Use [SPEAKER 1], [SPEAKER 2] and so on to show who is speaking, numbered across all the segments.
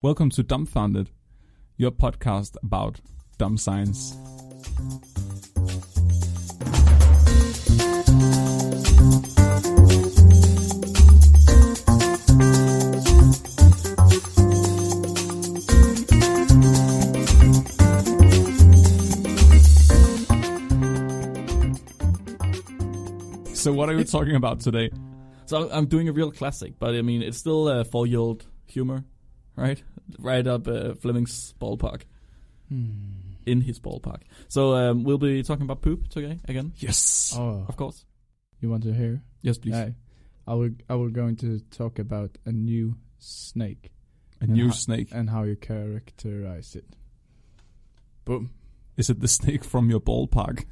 [SPEAKER 1] Welcome to Dumbfounded, your podcast about dumb science. So, what are we talking about today?
[SPEAKER 2] So I'm doing a real classic, but I mean, it's still uh, four-year-old humor, right? Right up uh, Fleming's ballpark,
[SPEAKER 3] Hmm.
[SPEAKER 2] in his ballpark. So um, we'll be talking about poop today again,
[SPEAKER 1] Yes.
[SPEAKER 3] Oh,
[SPEAKER 2] of course.
[SPEAKER 3] you want to hear?
[SPEAKER 2] Yes, please.
[SPEAKER 3] I, I will. I will going to talk about a new snake
[SPEAKER 1] A new
[SPEAKER 3] Yeah.
[SPEAKER 1] snake.
[SPEAKER 3] and how you characterize it. Boom.
[SPEAKER 1] Is it the snake from your ballpark?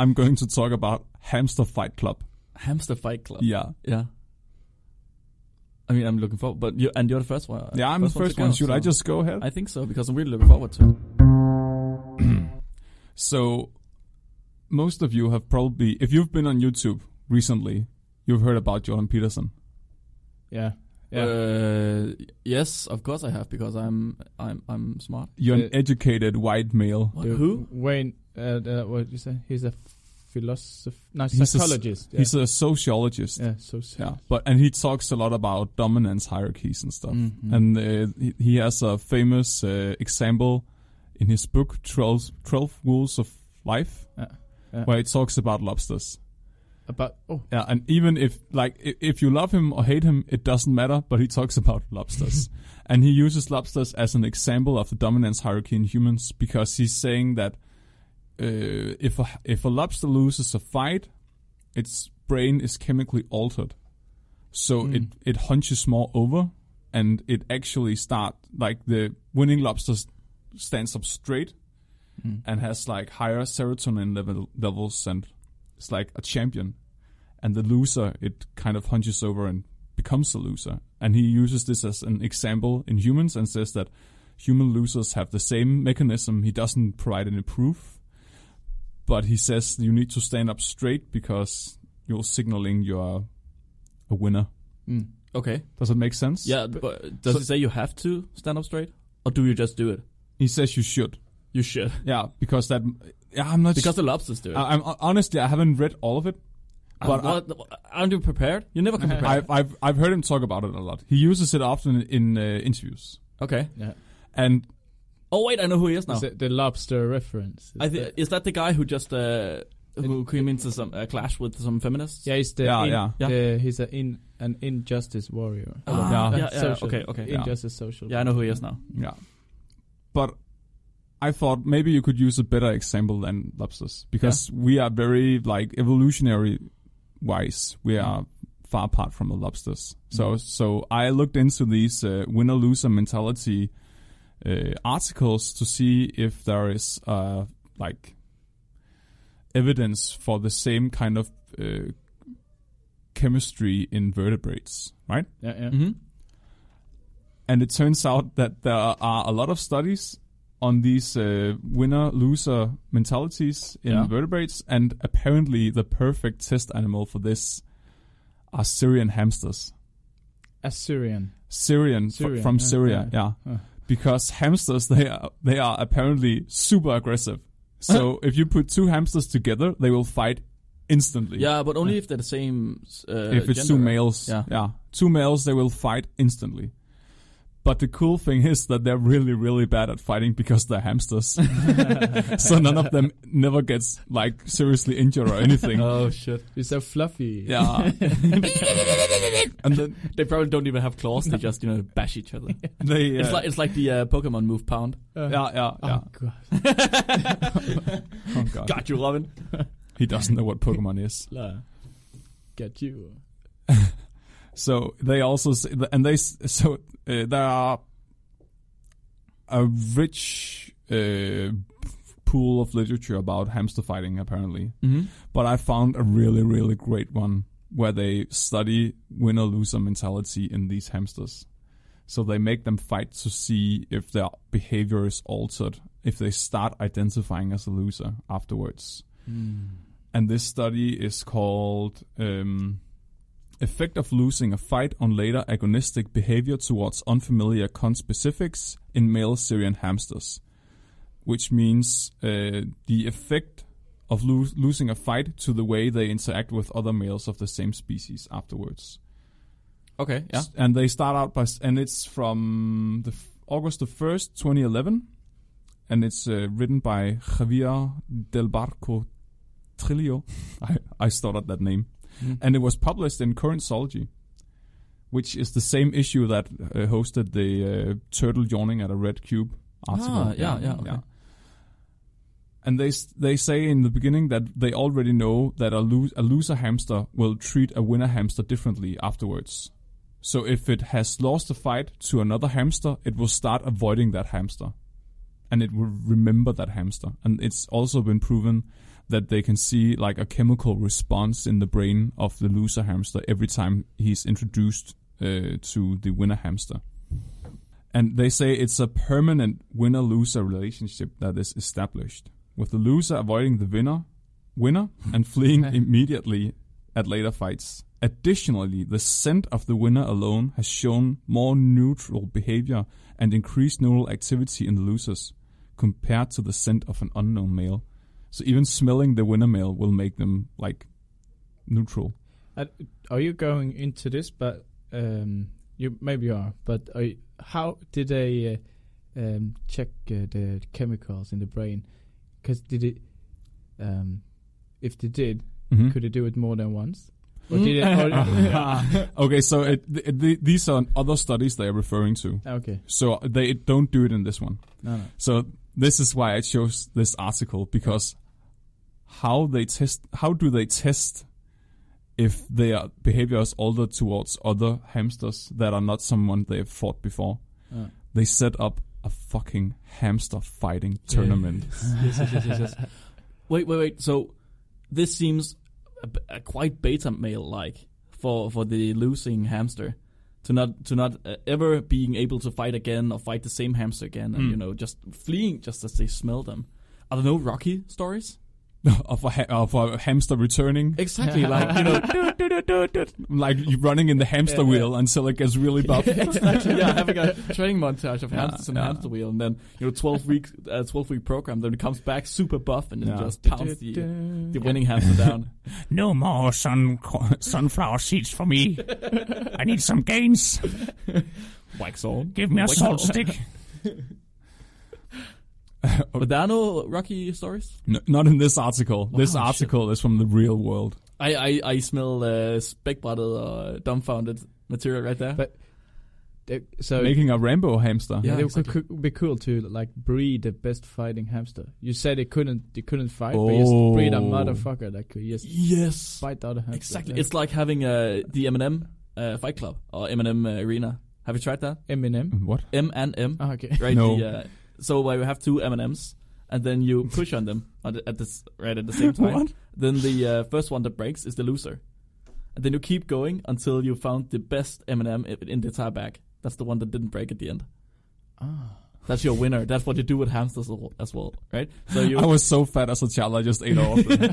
[SPEAKER 1] I'm going to talk about Hamster Fight Club.
[SPEAKER 2] Hamster Fight Club.
[SPEAKER 1] Yeah.
[SPEAKER 2] Yeah. I mean, I'm looking forward, but you and you're the first one.
[SPEAKER 1] Yeah, I'm the
[SPEAKER 2] to
[SPEAKER 1] first
[SPEAKER 2] go,
[SPEAKER 1] one. Should I
[SPEAKER 2] so-
[SPEAKER 1] just go ahead?
[SPEAKER 2] I think so because I'm really looking forward to it.
[SPEAKER 1] So, most of you have probably, if you've been on YouTube recently, you've heard about Jordan Peterson.
[SPEAKER 3] Yeah. Yeah.
[SPEAKER 2] Uh, yes, of course I have because I'm I'm I'm smart.
[SPEAKER 1] You're an
[SPEAKER 3] Uh,
[SPEAKER 1] educated white male.
[SPEAKER 2] What?
[SPEAKER 3] The-
[SPEAKER 2] Who?
[SPEAKER 3] Wayne. Uh, the, what did you say? He's a philosopher. No,
[SPEAKER 1] He's a s-
[SPEAKER 3] psychologist. yeah.
[SPEAKER 1] He's a sociologist.
[SPEAKER 3] yeah. So sad.
[SPEAKER 1] Yeah, but and he talks a lot about dominance hierarchies and stuff.
[SPEAKER 3] Mhm.
[SPEAKER 1] And uh, he- he has a famous uh, example in his book 12, 12 Rules of Life,
[SPEAKER 3] Yeah, yeah.
[SPEAKER 1] where he talks about lobsters.
[SPEAKER 3] about oh
[SPEAKER 1] Yeah, and even if like i- if you love him or hate him, it doesn't matter. But he talks about lobsters, and he uses lobsters as an example of the dominance hierarchy in humans because he's saying that uh, if a, if a lobster loses a fight, its brain is chemically altered, so
[SPEAKER 3] Mm.
[SPEAKER 1] it it hunches more over, and it actually start like the winning lobster s- stands up straight
[SPEAKER 3] Mm.
[SPEAKER 1] and has like higher serotonin level levels and it's like a champion and the loser it kind of hunches over and becomes a loser and he uses this as an example in humans and says that human losers have the same mechanism he doesn't provide any proof but he says you need to stand up straight because you're signaling you're a winner
[SPEAKER 3] mm.
[SPEAKER 2] Okay.
[SPEAKER 1] does it make sense
[SPEAKER 2] Yeah, but does
[SPEAKER 1] so-
[SPEAKER 2] it say you have to stand up straight, or do you just do it?
[SPEAKER 1] he says you should
[SPEAKER 2] You should.
[SPEAKER 1] yeah because that yeah i'm not
[SPEAKER 2] Because the lobsters do it.
[SPEAKER 1] I, am honestly i haven't read all of it Uh, but Uh-huh.
[SPEAKER 2] but aren't you prepared? You never come prepared.
[SPEAKER 1] I've, I've I've heard him talk about it a lot. He uses it often in uh, interviews.
[SPEAKER 2] okay.
[SPEAKER 3] yeah.
[SPEAKER 1] And
[SPEAKER 2] Oh wait, I know who he is now.
[SPEAKER 3] Is it the lobster reference? Is
[SPEAKER 2] I thi-
[SPEAKER 3] that-
[SPEAKER 2] is that the guy who just uh, who came into some uh, clash with some feminists?
[SPEAKER 3] yeah, he's the
[SPEAKER 1] Yeah,
[SPEAKER 3] in-
[SPEAKER 1] yeah.
[SPEAKER 2] Yeah.
[SPEAKER 3] the- he's a in an injustice warrior.
[SPEAKER 2] Ah,
[SPEAKER 1] Yeah.
[SPEAKER 2] yeah, yeah,
[SPEAKER 3] Social-
[SPEAKER 2] okay, okay.
[SPEAKER 1] Yeah.
[SPEAKER 3] Injustice social.
[SPEAKER 2] Yeah, I know who he is now.
[SPEAKER 1] yeah, but I thought maybe you could use a better example than lobsters because we are very like evolutionary wise, we are far apart from the lobsters. So so I looked into these uh, winner loser mentality uh, articles to see if there is uh, like evidence for the same kind of uh, chemistry in vertebrates, right?
[SPEAKER 3] Yeah, yeah.
[SPEAKER 2] Mm-hmm.
[SPEAKER 1] And it turns out that there are a lot of studies on these uh, winner loser mentalities in
[SPEAKER 2] Yeah.
[SPEAKER 1] vertebrates, and apparently the perfect test animal for this are Syrian hamsters.
[SPEAKER 3] Assyrian.
[SPEAKER 1] Syrian, fr-
[SPEAKER 3] Syrian,
[SPEAKER 1] from
[SPEAKER 3] yeah,
[SPEAKER 1] Syria, yeah,
[SPEAKER 3] yeah. Huh.
[SPEAKER 1] because hamsters they are they are apparently super aggressive. So if you put two hamsters together, they will fight instantly.
[SPEAKER 2] Yeah, but only if they're the same. Uh,
[SPEAKER 1] if it's
[SPEAKER 2] gender,
[SPEAKER 1] two
[SPEAKER 2] right?
[SPEAKER 1] males,
[SPEAKER 2] Yeah.
[SPEAKER 1] two males, they will fight instantly. But the cool thing is that they're really, really bad at fighting because they're hamsters. so none of them never gets like seriously injured or anything.
[SPEAKER 2] Oh shit!
[SPEAKER 3] He's so fluffy.
[SPEAKER 1] yeah, and then
[SPEAKER 2] They probably don't even have claws. They just you know bash each other.
[SPEAKER 1] they uh,
[SPEAKER 2] It's like it's like the uh, Pokemon move pound.
[SPEAKER 3] Uh,
[SPEAKER 1] yeah, yeah, yeah.
[SPEAKER 3] Oh god.
[SPEAKER 1] Oh god,
[SPEAKER 2] Got you, Robin.
[SPEAKER 1] he doesn't know what Pokemon is.
[SPEAKER 3] La. Get you.
[SPEAKER 1] So they also s- and they s- so uh, there are a rich uh, pool of literature about hamster fighting apparently,
[SPEAKER 2] Mm-hmm.
[SPEAKER 1] but I found a really really great one where they study winner loser mentality in these hamsters. So they make them fight to see if their behavior is altered if they start identifying as a loser
[SPEAKER 3] Mm.
[SPEAKER 1] afterwards. And this study is called um, effect of losing a fight on later agonistic behavior towards unfamiliar conspecifics in male Syrian hamsters, which means uh, the effect of lo- losing a fight to the way they interact with other males of the same species afterwards.
[SPEAKER 2] Okay, yeah.
[SPEAKER 1] S- And they start out by, s- and it's from the f- August the 1st, 2011. And it's uh, written by Javier Del Barco Trillo. I, I stuttered that name.
[SPEAKER 2] Mm-hmm.
[SPEAKER 3] Mm.
[SPEAKER 1] And it was published in Currentology, which is the same issue that uh, hosted the uh, turtle yawning at a red cube article.
[SPEAKER 2] Ah, yeah, yeah, okay.
[SPEAKER 1] And they s- they say in the beginning that they already know that a, lo- a loser hamster will treat a winner hamster differently afterwards. So if it has lost a fight to another hamster, it will start avoiding that hamster, and it will remember that hamster. And it's also been proven that they can see like a chemical response in the brain of the loser hamster every time he's introduced uh, to the winner hamster. And they say it's a permanent winner loser relationship that is established, with the loser avoiding the winner, winner and fleeing immediately at later fights. Additionally, the scent of the winner alone has shown more neutral behavior and increased neural activity in the losers compared to the scent of an unknown male. So even smelling the winner male will make them like neutral.
[SPEAKER 3] Are you going into this? But um, you maybe you are. But are you, how did they uh, um, check uh, the chemicals in the brain? Because did it? Um, if they did,
[SPEAKER 2] Hmm?
[SPEAKER 1] Mhm.
[SPEAKER 3] could they do it more than once? Or
[SPEAKER 2] Mm.
[SPEAKER 3] did it? Or,
[SPEAKER 2] Ah.
[SPEAKER 1] okay, so it, th- th- these are other studies they are referring to.
[SPEAKER 3] okay.
[SPEAKER 1] So they don't do it in this one.
[SPEAKER 3] No, no.
[SPEAKER 1] So this is why I chose this article because how they test, how do they test if their behavior is altered towards other hamsters that are not someone they have fought before?
[SPEAKER 3] Uh.
[SPEAKER 1] They set up a fucking hamster fighting tournament.
[SPEAKER 2] yes, yes, yes, yes, yes. Wait, wait, wait. So this seems a, b- a quite beta male like for for the losing hamster to not to not uh, ever being able to fight again or fight the same hamster again, and
[SPEAKER 1] Mm.
[SPEAKER 2] you know just fleeing just as they smell them. I don't know Rocky stories.
[SPEAKER 1] of a ha- of a hamster returning,
[SPEAKER 2] Exactly, like you know,
[SPEAKER 1] like you running in the hamster
[SPEAKER 3] Yeah, yeah.
[SPEAKER 1] wheel until it gets really buff.
[SPEAKER 2] exactly. Yeah, having a training montage of
[SPEAKER 1] Yeah,
[SPEAKER 2] hamsters and
[SPEAKER 1] yeah.
[SPEAKER 2] hamster wheel, and then you know, twelve week uh, twelve week program. Then it comes back super buff and then
[SPEAKER 1] Yeah.
[SPEAKER 2] just pounds the, the winning hamster down.
[SPEAKER 1] No more sun sunflower seeds for me. I need some gains.
[SPEAKER 2] Wax on.
[SPEAKER 1] Give
[SPEAKER 2] me a Wax salt on.
[SPEAKER 1] stick.
[SPEAKER 2] But there are no Rocky stories.
[SPEAKER 1] not in this article. this
[SPEAKER 2] Wow, shit.
[SPEAKER 1] article is from the real world.
[SPEAKER 2] I I, I smell uh, spec bottle uh, dumbfounded material right there.
[SPEAKER 3] But- They- so
[SPEAKER 1] Making a Rambo hamster.
[SPEAKER 2] Yeah,
[SPEAKER 3] it
[SPEAKER 2] exactly.
[SPEAKER 3] could, could be cool to like breed the best fighting hamster. You said they couldn't, they couldn't fight, but
[SPEAKER 1] Oh.
[SPEAKER 3] just breed a motherfucker that could just
[SPEAKER 2] yes,
[SPEAKER 3] fight the other hamster.
[SPEAKER 2] exactly.
[SPEAKER 3] Like
[SPEAKER 2] It's like having uh, the Eminem uh, Fight Club or Eminem uh, Arena. Have you tried that?
[SPEAKER 3] Eminem.
[SPEAKER 1] What?
[SPEAKER 2] M and M,
[SPEAKER 3] Oh, okay.
[SPEAKER 2] right?
[SPEAKER 1] No.
[SPEAKER 2] The, uh, so where you have two M and M's, and then you push on them at, the- at this right at the same time. Then the uh, first one that breaks is the loser, and then you keep going until you found the best M and M in the entire bag. That's the one that didn't break at the end.
[SPEAKER 3] Ah.
[SPEAKER 2] That's your winner. That's what you do with hamsters al- as well, right? So you
[SPEAKER 1] I was so fat as a child. I just ate all of them.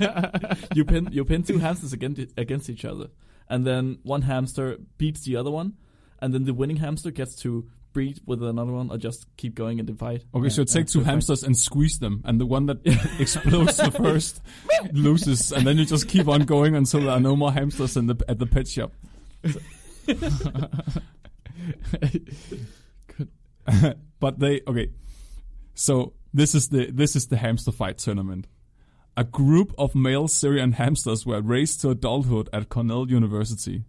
[SPEAKER 2] you pin you pin two hamsters against e, against each other, and then one hamster beats the other one, and then the winning hamster gets to breed with another one or just keep going in the fight.
[SPEAKER 1] Okay,
[SPEAKER 3] Yeah,
[SPEAKER 1] so take
[SPEAKER 3] yeah,
[SPEAKER 1] two
[SPEAKER 3] good
[SPEAKER 1] hamsters and squeeze them, and the one that explodes the first loses, and then you just keep on going until there are no more hamsters in the at the pet shop. but they okay. So this is the this is the hamster fight tournament. A group of male Syrian hamsters were raised to adulthood at Cornell University.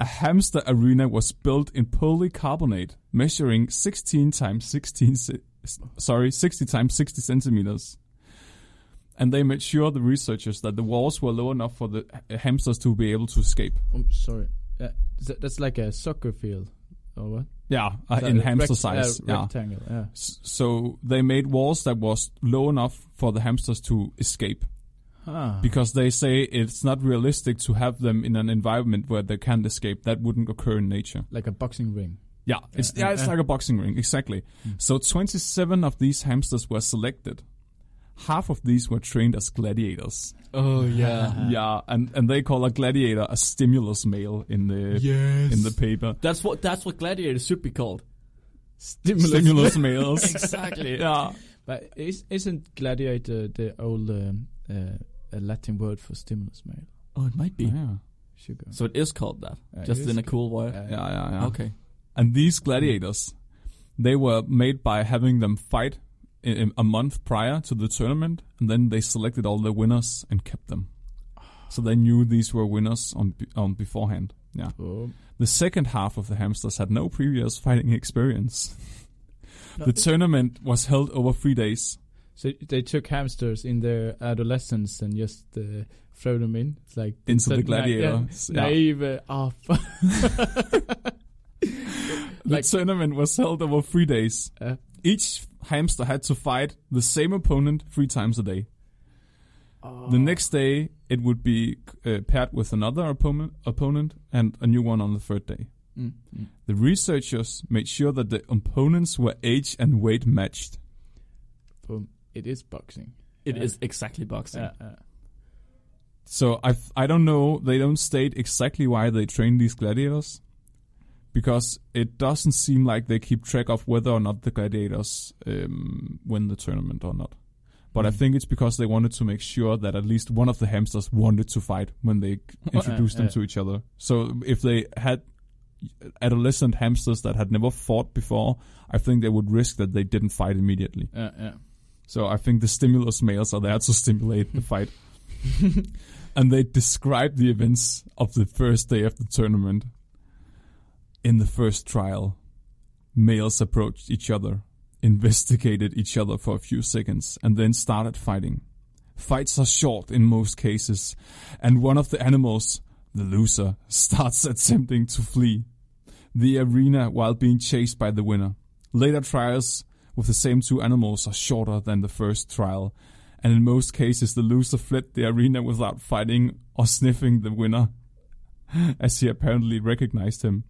[SPEAKER 1] A hamster arena was built in polycarbonate, measuring 16 times 16, ce- s- sorry, 60 times 60 centimeters. And they made sure the researchers that the walls were low enough for the h- hamsters to be able to escape.
[SPEAKER 3] I'm sorry. Uh, tha- that's like a soccer field, or what?
[SPEAKER 1] Yeah, uh,
[SPEAKER 3] Is that
[SPEAKER 1] in
[SPEAKER 3] a
[SPEAKER 1] hamster
[SPEAKER 3] rect-
[SPEAKER 1] size.
[SPEAKER 3] uh,
[SPEAKER 1] yeah.
[SPEAKER 3] Rectangle. Yeah.
[SPEAKER 1] S- So they made walls that was low enough for the hamsters to escape.
[SPEAKER 3] Ah.
[SPEAKER 1] because they say it's not realistic to have them in an environment where they can't escape. That wouldn't occur in nature.
[SPEAKER 3] like a boxing ring.
[SPEAKER 1] Yeah, it's yeah,
[SPEAKER 3] Yeah.
[SPEAKER 1] it's like a boxing ring exactly. So 27 of these hamsters were selected. half of these were trained as gladiators.
[SPEAKER 2] Oh yeah.
[SPEAKER 1] yeah, and, and they call a gladiator a stimulus male in the
[SPEAKER 2] yes.
[SPEAKER 1] in the paper.
[SPEAKER 2] that's what that's what gladiators should be called.
[SPEAKER 3] Stimulus.
[SPEAKER 1] Stimulus males.
[SPEAKER 2] Exactly. Oh,
[SPEAKER 1] Yeah.
[SPEAKER 3] But is, isn't gladiator the old um, uh, a Latin word for stimulus male?
[SPEAKER 2] Oh, it might be.
[SPEAKER 1] Yeah.
[SPEAKER 3] Sugar.
[SPEAKER 2] So it is called that,
[SPEAKER 3] Uh,
[SPEAKER 2] just
[SPEAKER 3] it is
[SPEAKER 2] in a cool way.
[SPEAKER 1] Yeah, yeah, yeah.
[SPEAKER 2] Okay.
[SPEAKER 1] And these gladiators, they were made by having them fight i- i- a month prior to the tournament, and then they selected all the winners and kept them. So they knew these were winners on be- on beforehand. Yeah.
[SPEAKER 3] Oh.
[SPEAKER 1] The second half of the hamsters had no previous fighting experience.
[SPEAKER 3] No,
[SPEAKER 1] the tournament was held over three days.
[SPEAKER 3] So they took hamsters in their adolescence and just uh, throw them in. It's like
[SPEAKER 1] Into the
[SPEAKER 3] na-
[SPEAKER 1] gladiator.
[SPEAKER 3] yeah,
[SPEAKER 1] Yeah.
[SPEAKER 3] naive. Uh, oh, fuck.
[SPEAKER 1] The
[SPEAKER 3] Like-
[SPEAKER 1] tournament was held over three days.
[SPEAKER 3] Uh.
[SPEAKER 1] Each hamster had to fight the same opponent three times a day. The
[SPEAKER 3] Oh.
[SPEAKER 1] next day, it would be uh, paired with another opponent, opponent and a new one on the third day.
[SPEAKER 2] Mm.
[SPEAKER 1] The researchers made sure that the opponents were age and weight matched.
[SPEAKER 3] Boom. It is boxing.
[SPEAKER 2] It is
[SPEAKER 3] Yeah.
[SPEAKER 2] exactly boxing.
[SPEAKER 3] Yeah, yeah.
[SPEAKER 1] So I I don't know. They don't state exactly why they train these gladiators, because it doesn't seem like they keep track of whether or not the gladiators um, win the tournament or not. But I
[SPEAKER 3] Mm.
[SPEAKER 1] think it's because they wanted to make sure that at least one of the hamsters wanted to fight when they introduced them
[SPEAKER 3] yeah.
[SPEAKER 1] to each other. So if they had adolescent hamsters that had never fought before, I think they would risk that they didn't fight immediately.
[SPEAKER 3] Yeah, yeah.
[SPEAKER 1] So I think the stimulus males are there to stimulate the fight. and they describe the events of the first day of the tournament. In the first trial, males approached each other, investigated each other for a few seconds, and then started fighting. Fights are short in most cases, and one of the animals, the loser, starts attempting to flee the arena while being chased by the winner. Later trials with the same two animals are shorter than the first trial, and in most cases, the loser fled the arena without fighting or sniffing the winner, as he apparently recognized him.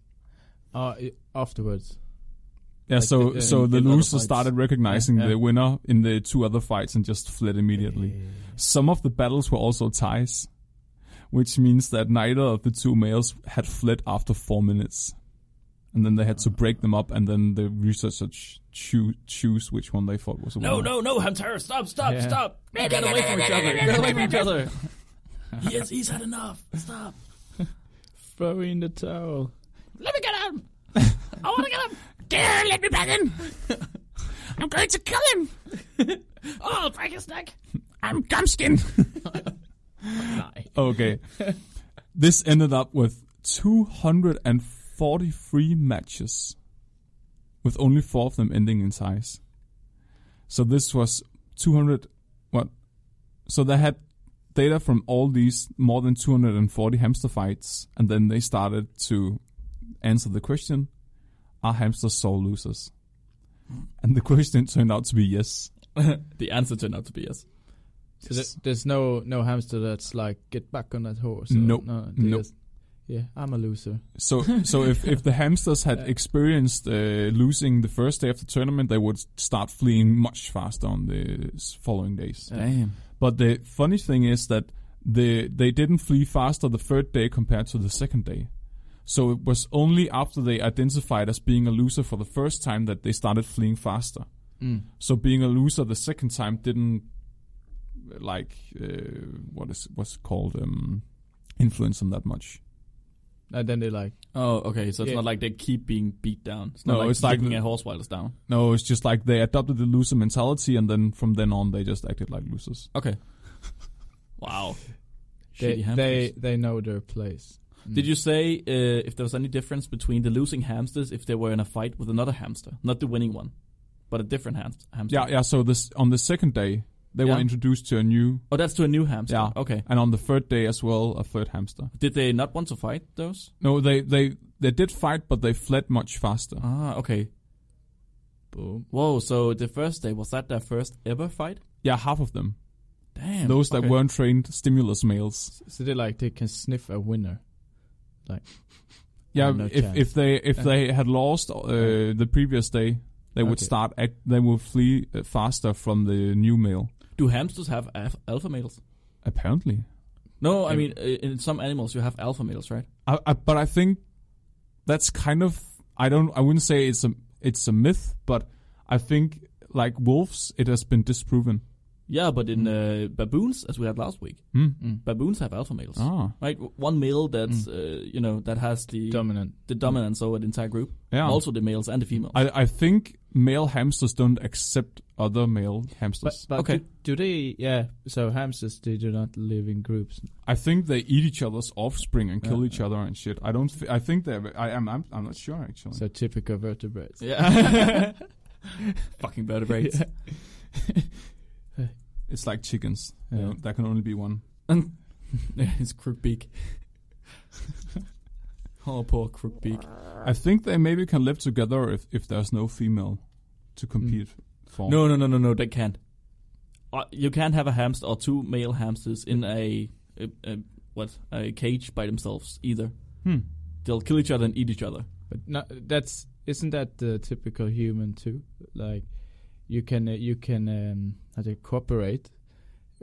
[SPEAKER 3] Oh, i- afterwards.
[SPEAKER 1] Yeah,
[SPEAKER 3] Like
[SPEAKER 1] so
[SPEAKER 3] the- uh,
[SPEAKER 1] so
[SPEAKER 3] in-
[SPEAKER 1] the
[SPEAKER 3] in other
[SPEAKER 1] loser
[SPEAKER 3] fights.
[SPEAKER 1] started recognizing
[SPEAKER 3] Yeah, yeah.
[SPEAKER 1] the winner in the two other fights and just fled immediately. Some of the battles were also ties, which means that neither of the two males had fled after four minutes. And then they had to
[SPEAKER 3] Ah.
[SPEAKER 1] break them up, and then the researchers choo- choose which one they thought was the
[SPEAKER 2] No,
[SPEAKER 1] winner.
[SPEAKER 2] no, no, Hamster! Stop! Stop!
[SPEAKER 3] Yeah.
[SPEAKER 2] Stop! Get away from each other! Get away from each other! Yes, he's had enough. Stop!
[SPEAKER 3] Throw in the towel.
[SPEAKER 2] Let me get him! I want to get him!
[SPEAKER 4] Dare let me back in! I'm going to kill him!
[SPEAKER 2] Oh, I'll break his neck!
[SPEAKER 4] I'm Gumskin!
[SPEAKER 1] Okay. this ended up with 243 matches, with only four of them ending in ties. So this was 200. What? So they had data from all these more than 240 hamster fights, and then they started to answer the question Are hamsters sore losers? And the question turned out to be yes.
[SPEAKER 2] The answer turned out to be yes.
[SPEAKER 3] So there- there's no no hamster that's like get back on that horse. or-
[SPEAKER 1] Nope.
[SPEAKER 3] No. they
[SPEAKER 1] Nope.
[SPEAKER 3] just- yeah, I'm a loser.
[SPEAKER 1] So, so if, if the hamsters had experienced uh, losing the first day of the tournament, they would start fleeing much faster on the s- following days.
[SPEAKER 2] Damn.
[SPEAKER 1] But the funny thing is that the they didn't flee faster the third day compared to the second day. So it was only after they identified as being a loser for the first time that they started fleeing faster.
[SPEAKER 3] Mm.
[SPEAKER 1] So being a loser the second time didn't like uh, what is what's it called um, influence them that much.
[SPEAKER 3] And then they like
[SPEAKER 2] Oh, okay. So it's
[SPEAKER 3] Yeah.
[SPEAKER 2] not like they keep being beat down. It's not
[SPEAKER 1] No,
[SPEAKER 2] like
[SPEAKER 1] it's like
[SPEAKER 2] licking
[SPEAKER 1] the-
[SPEAKER 2] a horse while it's down.
[SPEAKER 1] No, it's just like they adopted the loser mentality, and then from then on, they just acted like losers.
[SPEAKER 2] Okay. wow.
[SPEAKER 3] they
[SPEAKER 2] Shitty hamsters.
[SPEAKER 3] they, they know their place.
[SPEAKER 2] Did you say uh, if there was any difference between the losing hamsters if they were in a fight with another hamster, not the winning one, but a different ham- hamster?
[SPEAKER 1] Yeah, yeah. So this on the second day, they were
[SPEAKER 2] Yeah.
[SPEAKER 1] introduced to a new,
[SPEAKER 2] Oh, that's to a new hamster.
[SPEAKER 1] Yeah.
[SPEAKER 2] Okay.
[SPEAKER 1] and on the third day as well, a third hamster.
[SPEAKER 2] Did they not want to fight those?
[SPEAKER 1] No, they they they did fight, but they fled much faster.
[SPEAKER 2] Ah, okay.
[SPEAKER 3] Boom.
[SPEAKER 2] Whoa. So the first day was that their first ever fight?
[SPEAKER 1] Yeah, half of them.
[SPEAKER 2] Damn.
[SPEAKER 1] Those that
[SPEAKER 2] okay.
[SPEAKER 1] weren't trained stimulus males.
[SPEAKER 3] So they like they can sniff a winner.
[SPEAKER 1] Yeah,
[SPEAKER 3] no
[SPEAKER 1] if
[SPEAKER 3] chance.
[SPEAKER 1] if they if they had lost uh, the previous day, they would
[SPEAKER 3] Okay.
[SPEAKER 1] start act. They would flee uh, faster from the new male.
[SPEAKER 2] Do hamsters have alpha, alpha males?
[SPEAKER 1] Apparently,
[SPEAKER 2] No, I
[SPEAKER 1] Yeah.
[SPEAKER 2] mean i- in some animals you have alpha males, right?
[SPEAKER 1] I, I, but I think that's kind of I don't I wouldn't say it's a it's a myth, but I think like wolves, it has been disproven.
[SPEAKER 2] Yeah, but in uh, baboons, as we had last week,
[SPEAKER 1] Hmm.
[SPEAKER 3] Mm.
[SPEAKER 2] baboons have alpha males.
[SPEAKER 1] Ah,
[SPEAKER 2] Right, one male that's uh, you know that has the
[SPEAKER 3] Dominant.
[SPEAKER 2] the dominance over the entire group,
[SPEAKER 1] yeah.
[SPEAKER 2] also the males and the females.
[SPEAKER 1] I I think male hamsters don't accept other male
[SPEAKER 3] But,
[SPEAKER 1] hamsters.
[SPEAKER 3] but
[SPEAKER 2] Okay.
[SPEAKER 3] do, do they? Yeah. So hamsters they do not live in groups.
[SPEAKER 1] I think they eat each other's offspring and kill
[SPEAKER 3] Yeah.
[SPEAKER 1] each other and shit. I don't. Th- I think they. I am. I'm, I'm not sure actually.
[SPEAKER 3] So typical vertebrates.
[SPEAKER 2] yeah, fucking vertebrates.
[SPEAKER 1] it's like chickens.
[SPEAKER 3] Yeah.
[SPEAKER 1] You know, there can only be one.
[SPEAKER 2] His crook beak. oh, poor crook beak.
[SPEAKER 1] I think they maybe can live together if if there's no female to
[SPEAKER 3] Hmm.
[SPEAKER 1] compete for.
[SPEAKER 2] No, no, no, no, no. They can't. Uh, you can't have a hamster or two male hamsters in a, a, a what a cage by themselves either.
[SPEAKER 1] Hmm.
[SPEAKER 2] They'll kill each other and eat each other.
[SPEAKER 3] But no, that's isn't that the typical human too? Like you can uh, you can um, how to cooperate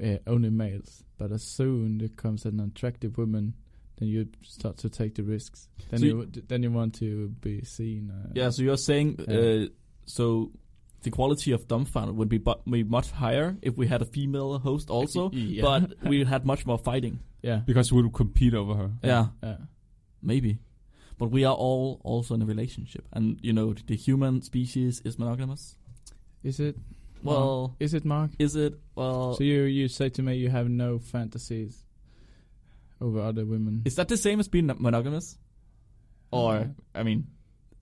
[SPEAKER 3] uh, only males, but as soon there comes an attractive woman, then you start to take the risks. Then
[SPEAKER 2] So
[SPEAKER 3] you, then you want to be seen. Uh,
[SPEAKER 2] Yeah. So you're saying
[SPEAKER 3] Yeah.
[SPEAKER 2] uh, so the quality of dumbfounded would be, bu- be much higher if we had a female host also,
[SPEAKER 3] Yeah.
[SPEAKER 2] but we had much more fighting.
[SPEAKER 3] yeah, Uh,
[SPEAKER 1] because we'll compete over her.
[SPEAKER 2] Yeah.
[SPEAKER 3] yeah.
[SPEAKER 2] Maybe. But we are all also in a relationship. And, you know, the human species is monogamous.
[SPEAKER 3] Is it
[SPEAKER 2] Well,
[SPEAKER 3] is it Mark?
[SPEAKER 2] is it? Well,
[SPEAKER 3] So you you say to me you have no fantasies over other women.
[SPEAKER 2] is that the same as being monogamous? Or, I mean,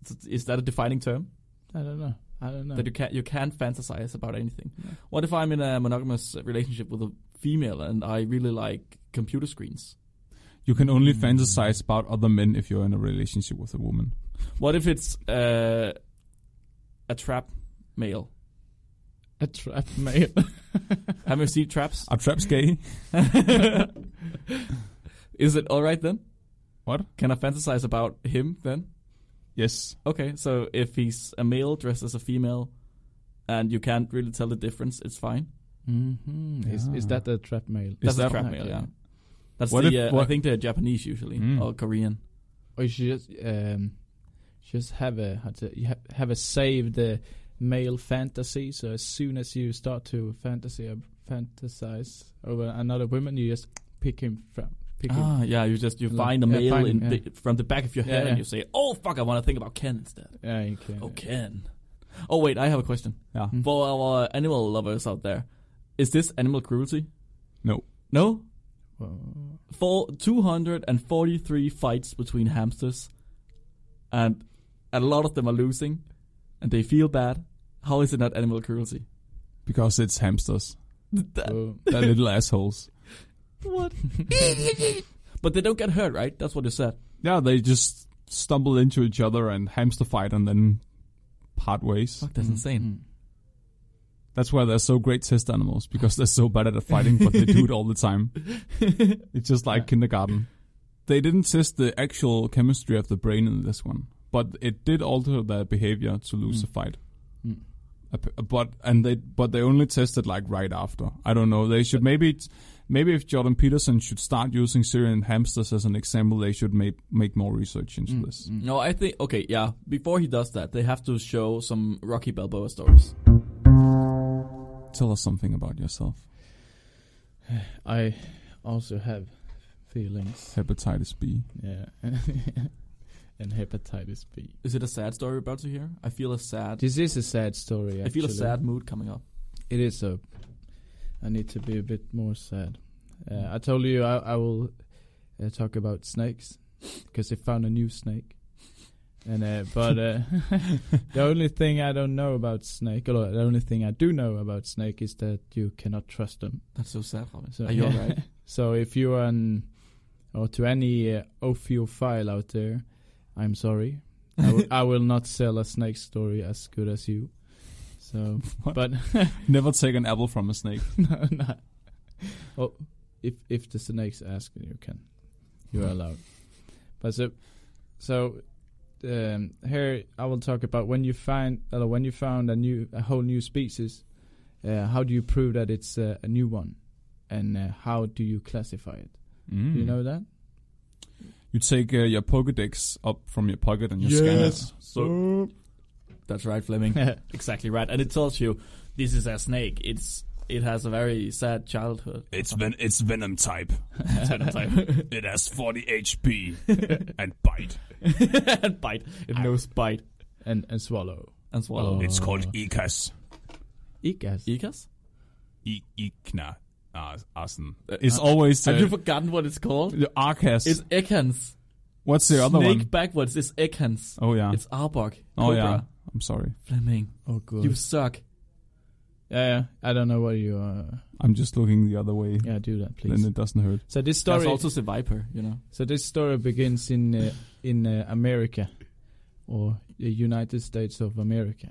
[SPEAKER 2] is- is that a defining term?
[SPEAKER 3] I don't know. I don't know.
[SPEAKER 2] That you can't, you can't fantasize about anything.
[SPEAKER 3] Yeah.
[SPEAKER 2] What if I'm in a monogamous relationship with a female and I really like computer screens?
[SPEAKER 1] You can only
[SPEAKER 3] Hmm.
[SPEAKER 1] fantasize about other men if you're in a relationship with a woman.
[SPEAKER 2] What if it's uh, a trap male?
[SPEAKER 3] A trap male.
[SPEAKER 2] Have you seen traps?
[SPEAKER 1] Are traps gay?
[SPEAKER 2] is it alright then?
[SPEAKER 1] What?
[SPEAKER 2] Can I fantasize about him then?
[SPEAKER 1] yes.
[SPEAKER 2] Okay, so if he's a male dressed as a female, and you can't really tell the difference, it's fine.
[SPEAKER 3] hmm Is is
[SPEAKER 1] Yeah.
[SPEAKER 3] that a trap male?
[SPEAKER 2] That's
[SPEAKER 1] that-
[SPEAKER 2] a trap
[SPEAKER 3] okay.
[SPEAKER 2] male, yeah. That's
[SPEAKER 1] What
[SPEAKER 2] the
[SPEAKER 1] if-
[SPEAKER 2] uh, I
[SPEAKER 1] what-
[SPEAKER 2] think they're Japanese usually
[SPEAKER 1] Mm.
[SPEAKER 2] or Korean.
[SPEAKER 3] Or you should just um, just have a how to you ha- have a saved uh, male fantasy. So as soon as you start to fantasy fantasize over another woman, you just pick him from pick him.
[SPEAKER 2] Ah, yeah. You just you
[SPEAKER 3] Like-
[SPEAKER 2] find a
[SPEAKER 3] yeah,
[SPEAKER 2] male
[SPEAKER 3] find
[SPEAKER 2] in
[SPEAKER 3] him, yeah.
[SPEAKER 2] the, from the back of your
[SPEAKER 3] Yeah,
[SPEAKER 2] head, and
[SPEAKER 3] yeah.
[SPEAKER 2] you say, "Oh fuck, I want to think about Ken instead."
[SPEAKER 3] Yeah, you can.
[SPEAKER 2] Oh, Ken. Oh wait, I have a question Mm-hmm.
[SPEAKER 1] Yeah.
[SPEAKER 3] Hmm.
[SPEAKER 2] for our animal lovers out there. Is this animal cruelty?
[SPEAKER 1] No.
[SPEAKER 2] No.
[SPEAKER 3] Well,
[SPEAKER 2] For 243 fights between hamsters, and a lot of them are losing, and they feel bad. How is it not animal cruelty?
[SPEAKER 1] Because it's hamsters.
[SPEAKER 2] That-
[SPEAKER 3] well,
[SPEAKER 1] They're little assholes.
[SPEAKER 2] what? but they don't get hurt, right? That's what you said.
[SPEAKER 1] Yeah, they just stumble into each other and hamster fight and then part ways.
[SPEAKER 2] Fuck, that's
[SPEAKER 3] mm,
[SPEAKER 2] insane.
[SPEAKER 3] mm.
[SPEAKER 1] That's why they're so great test animals because they're so bad at fighting, but they do it all the time. It's just like
[SPEAKER 3] Yeah.
[SPEAKER 1] kindergarten. They didn't test the actual chemistry of the brain in this one, but it did alter their behavior to lose
[SPEAKER 4] Hmm.
[SPEAKER 3] Mm.
[SPEAKER 1] the fight.
[SPEAKER 3] Mm.
[SPEAKER 1] Ap- But and they but they only tested like right after. I don't know. They should maybe it's- maybe if Jordan Peterson should start using Syrian hamsters as an example, they should make make more research
[SPEAKER 4] Hmm.
[SPEAKER 1] into
[SPEAKER 3] Mm,
[SPEAKER 1] this.
[SPEAKER 3] mm.
[SPEAKER 2] No, I think okay, yeah. Before he does that, they have to show some Rocky Balboa stories.
[SPEAKER 1] Tell us something about yourself.
[SPEAKER 3] I also have feelings.
[SPEAKER 1] Hepatitis B.
[SPEAKER 3] Yeah. and hepatitis B.
[SPEAKER 2] Is it a sad story we're about to hear? I feel a sad.
[SPEAKER 3] This is a sad story.
[SPEAKER 2] I feel a
[SPEAKER 3] actually.
[SPEAKER 2] sad mood coming up.
[SPEAKER 3] It is a. I need to be a bit more sad. Uh, I told you I, I will uh, talk about snakes because they found a new snake. And uh, but uh, the only thing I don't know about snake, or the only thing I do know about snake, is that you cannot trust them.
[SPEAKER 2] That's so sad, Robin.
[SPEAKER 3] So-
[SPEAKER 2] Are you
[SPEAKER 3] yeah.
[SPEAKER 2] alright?
[SPEAKER 3] So if you're an or to any uh, ophiophile out there, I'm sorry. I, w- I will not sell a snake story as good as you. So,
[SPEAKER 1] What?
[SPEAKER 3] but
[SPEAKER 1] Never take an apple from a snake.
[SPEAKER 3] no, no. Well, if if the snakes ask, you can, you are allowed. But so, so um, here I will talk about when you find uh, when you found a new a whole new species. uh, how do you prove that it's uh, a new one, and uh, how do you classify it?
[SPEAKER 4] Hmm.
[SPEAKER 3] Do you
[SPEAKER 1] Hmm.
[SPEAKER 3] know that?
[SPEAKER 1] You take uh, your Pokedex up from your pocket and you scan it.
[SPEAKER 2] Yes. So that's right, Fleming. exactly right, and it tells you this is a snake. It's it has a very sad childhood.
[SPEAKER 4] It's ven- it's venom type. It has 40 HP and bite.
[SPEAKER 2] and bite.
[SPEAKER 1] Ah.
[SPEAKER 2] It knows bite
[SPEAKER 3] and and swallow.
[SPEAKER 1] Oh.
[SPEAKER 2] and swallow.
[SPEAKER 4] It's
[SPEAKER 1] Uh.
[SPEAKER 4] called Ikas.
[SPEAKER 3] Ikas.
[SPEAKER 2] Ikas?
[SPEAKER 4] I- Ikna. Ar- Arsen.
[SPEAKER 1] It's always uh,
[SPEAKER 2] Have you forgotten what it's called?
[SPEAKER 1] the Arcas.
[SPEAKER 2] It's Ekans.
[SPEAKER 1] What's the other
[SPEAKER 2] Snake
[SPEAKER 1] one?
[SPEAKER 2] backwards is Ekans.
[SPEAKER 1] Oh yeah.
[SPEAKER 2] It's Arbok.
[SPEAKER 1] oh
[SPEAKER 2] Cobra.
[SPEAKER 1] yeah. I'm sorry.
[SPEAKER 2] Fleming.
[SPEAKER 3] Oh god.
[SPEAKER 2] You suck.
[SPEAKER 3] yeah, yeah. I don't know what you are.
[SPEAKER 1] I'm just looking the other way.
[SPEAKER 3] Yeah, do that please.
[SPEAKER 1] Then it doesn't hurt.
[SPEAKER 3] So this
[SPEAKER 2] There's
[SPEAKER 3] story.
[SPEAKER 2] also the Viper, you know.
[SPEAKER 3] so this story begins in uh, in uh, America, or the United States of America.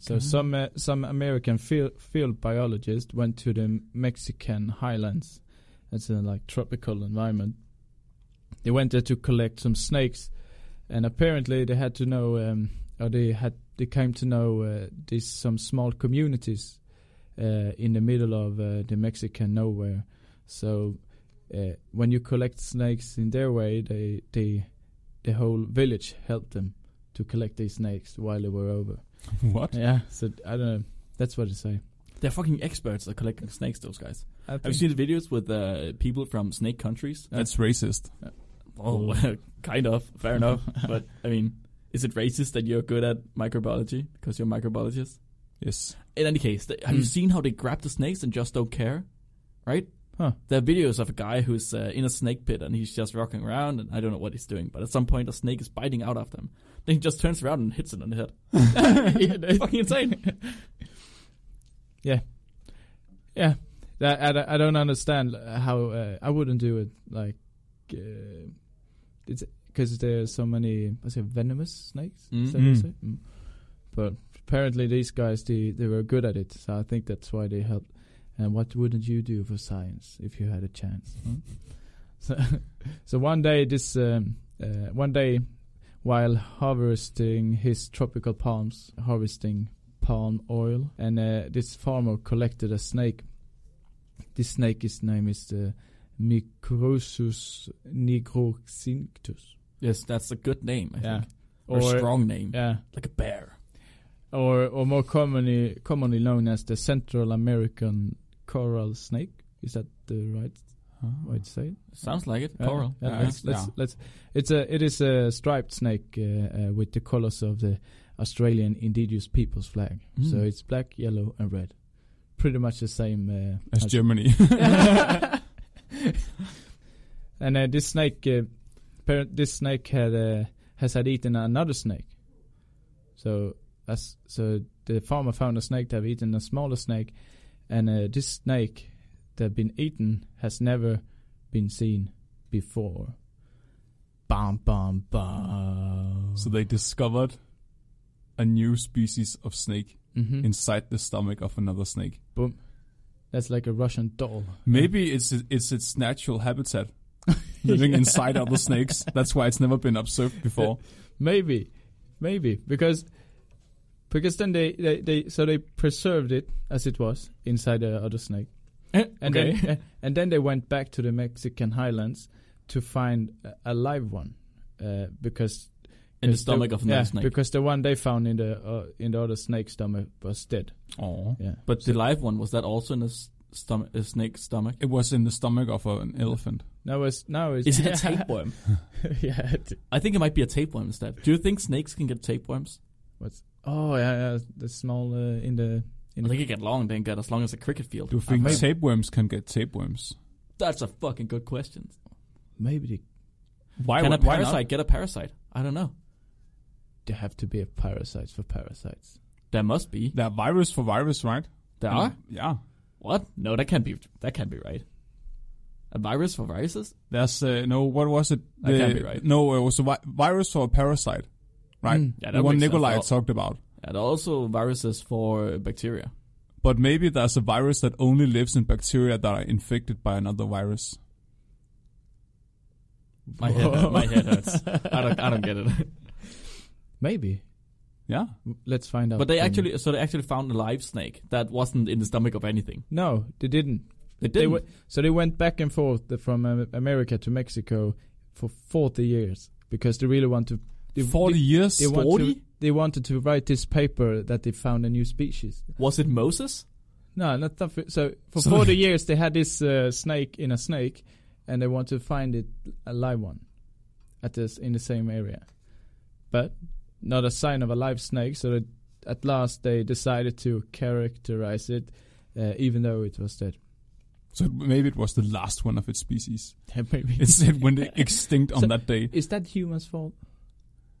[SPEAKER 3] So some uh, some American field, field biologist went to the Mexican highlands. It's a like tropical environment. They went there to collect some snakes, and apparently they had to know, um, or they had they came to know uh, these some small communities uh, in the middle of uh, the Mexican nowhere. So uh, when you collect snakes in their way, they they the whole village helped them to collect these snakes while they were over.
[SPEAKER 1] what?
[SPEAKER 3] Yeah, so I don't know. That's what I say.
[SPEAKER 2] They're fucking experts at collecting snakes, those guys.
[SPEAKER 3] I
[SPEAKER 2] Have you seen the videos with uh, people from snake countries?
[SPEAKER 1] That's racist.
[SPEAKER 2] Oh, kind of. Fair enough. But, I mean, is it racist that you're good at microbiology because you're a microbiologist?
[SPEAKER 1] Yes.
[SPEAKER 2] In any case, th- have you seen how they grab the snakes and just don't care? Right?
[SPEAKER 3] Huh.
[SPEAKER 2] There are videos of a guy who's uh, in a snake pit and he's just rocking around and I don't know what he's doing, but at some point a snake is biting out of him. Then he just turns around and hits it on the head. It's fucking insane.
[SPEAKER 3] Yeah, that, I, don't- I don't understand how uh, I wouldn't do it. Like, uh, it's because there are so many. I say venomous snakes. Is
[SPEAKER 2] Mm-hmm.
[SPEAKER 3] that what you
[SPEAKER 1] Mm.
[SPEAKER 3] say? Mm. But apparently these guys they they were good at it, so I think that's why they helped. And what wouldn't you do for science if you had a chance? huh? so, so one day this um, uh, one day while harvesting his tropical palms, harvesting palm oil, and uh, this farmer collected a snake. This snake, his name is the Microsus nigroxinctus,
[SPEAKER 2] Yes, that's a good name, I
[SPEAKER 3] Yeah.
[SPEAKER 2] think. Or, a strong name.
[SPEAKER 3] yeah,
[SPEAKER 2] Like a bear.
[SPEAKER 3] or or more commonly commonly known as the Central American coral snake. Is that the right way to say it?
[SPEAKER 2] Sounds like it.
[SPEAKER 3] Yeah,
[SPEAKER 2] Coral.
[SPEAKER 3] Yeah,
[SPEAKER 1] Yeah,
[SPEAKER 3] let's, let's,
[SPEAKER 1] yeah.
[SPEAKER 3] let's, it's a it is a striped snake uh, uh, with the colors of the Australian Indigenous Peoples flag. So
[SPEAKER 2] Mm.
[SPEAKER 3] it's black, yellow, and red. Pretty much the same uh,
[SPEAKER 1] As Germany.
[SPEAKER 3] and uh, this snake, uh, par- this snake had uh, has had eaten another snake. So as so the farmer found a snake that had eaten a smaller snake, and uh, this snake that had been eaten has never been seen before. Bam, bam, bam.
[SPEAKER 1] so they discovered a new species of snake
[SPEAKER 3] Mhm.
[SPEAKER 1] inside the stomach of another snake.
[SPEAKER 3] That's like a Russian doll.
[SPEAKER 1] Maybe it's it's its natural habitat, living inside other snakes. That's why it's never been observed before.
[SPEAKER 3] Maybe, maybe because because then they, they, they so they preserved it as it was inside the other snake, and then and then they went back to the Mexican highlands to find a- a live one uh, because
[SPEAKER 2] In the
[SPEAKER 3] 'cause
[SPEAKER 2] stomach of another
[SPEAKER 3] yeah,
[SPEAKER 2] snake.
[SPEAKER 3] because the one they found in the uh, in the other snake's stomach was dead.
[SPEAKER 1] Oh,
[SPEAKER 3] Yeah,
[SPEAKER 2] But the live one was that also in a s- stomach, a snake's stomach?
[SPEAKER 1] it was in the stomach of an elephant.
[SPEAKER 3] now it's now it's
[SPEAKER 2] Is it a tapeworm?
[SPEAKER 3] yeah. it-
[SPEAKER 2] I think it might be a tapeworm instead. Do you think snakes can get tapeworms?
[SPEAKER 3] What's oh yeah, yeah the small uh, in the in the
[SPEAKER 2] I think it get long. They can get as long as a cricket field.
[SPEAKER 1] Do you think
[SPEAKER 3] maybe.
[SPEAKER 1] tapeworms can get tapeworms?
[SPEAKER 2] That's a fucking good question.
[SPEAKER 3] maybe they,
[SPEAKER 1] Why?
[SPEAKER 2] can a
[SPEAKER 1] would- why
[SPEAKER 2] parasite get a parasite? I don't know.
[SPEAKER 3] they have to be a parasites for parasites.
[SPEAKER 2] There must be.
[SPEAKER 1] not? They're virus for virus, right?
[SPEAKER 2] There are.
[SPEAKER 1] Yeah.
[SPEAKER 2] What? No, that can't be. That can't be right. A virus for viruses?
[SPEAKER 1] There's uh, no. What was it?
[SPEAKER 2] That can't
[SPEAKER 1] The-
[SPEAKER 2] be right. Hmm.
[SPEAKER 1] No, it was a vi- virus for a parasite, right?
[SPEAKER 3] Mm.
[SPEAKER 2] Yeah, that
[SPEAKER 1] the one
[SPEAKER 2] makes sense.
[SPEAKER 1] Nikolai
[SPEAKER 2] Well,
[SPEAKER 1] talked about.
[SPEAKER 2] And also viruses for bacteria.
[SPEAKER 1] But maybe there's a virus that only lives in bacteria that are infected by another virus.
[SPEAKER 2] uh, My head, my head hurts. I don't. I don't get it.
[SPEAKER 3] Maybe.
[SPEAKER 1] Yeah.
[SPEAKER 3] Let's find out.
[SPEAKER 2] But they
[SPEAKER 3] then.
[SPEAKER 2] actually, so they actually found a live snake that wasn't in the stomach of anything.
[SPEAKER 3] no, they didn't.
[SPEAKER 2] They
[SPEAKER 3] They
[SPEAKER 2] didn't.
[SPEAKER 3] went, so they went back and forth from uh, America to Mexico for 40 years because they really want to. They,
[SPEAKER 1] 40 years?
[SPEAKER 3] They, they, want to,
[SPEAKER 2] 40?
[SPEAKER 3] they wanted to write this paper that they found a new species.
[SPEAKER 2] was it Moses?
[SPEAKER 3] No, not that. fi- So for
[SPEAKER 1] So-
[SPEAKER 3] 40 years they had this uh, snake in a snake, and they want to find it a live one, at this in the same area, but not a sign of a live snake. So that at last they decided to characterize it, uh, even though it was dead.
[SPEAKER 1] So maybe it was the last one of its species.
[SPEAKER 3] Maybe
[SPEAKER 1] It said when they extinct on
[SPEAKER 3] So-
[SPEAKER 1] that day.
[SPEAKER 3] Is that humans' fault?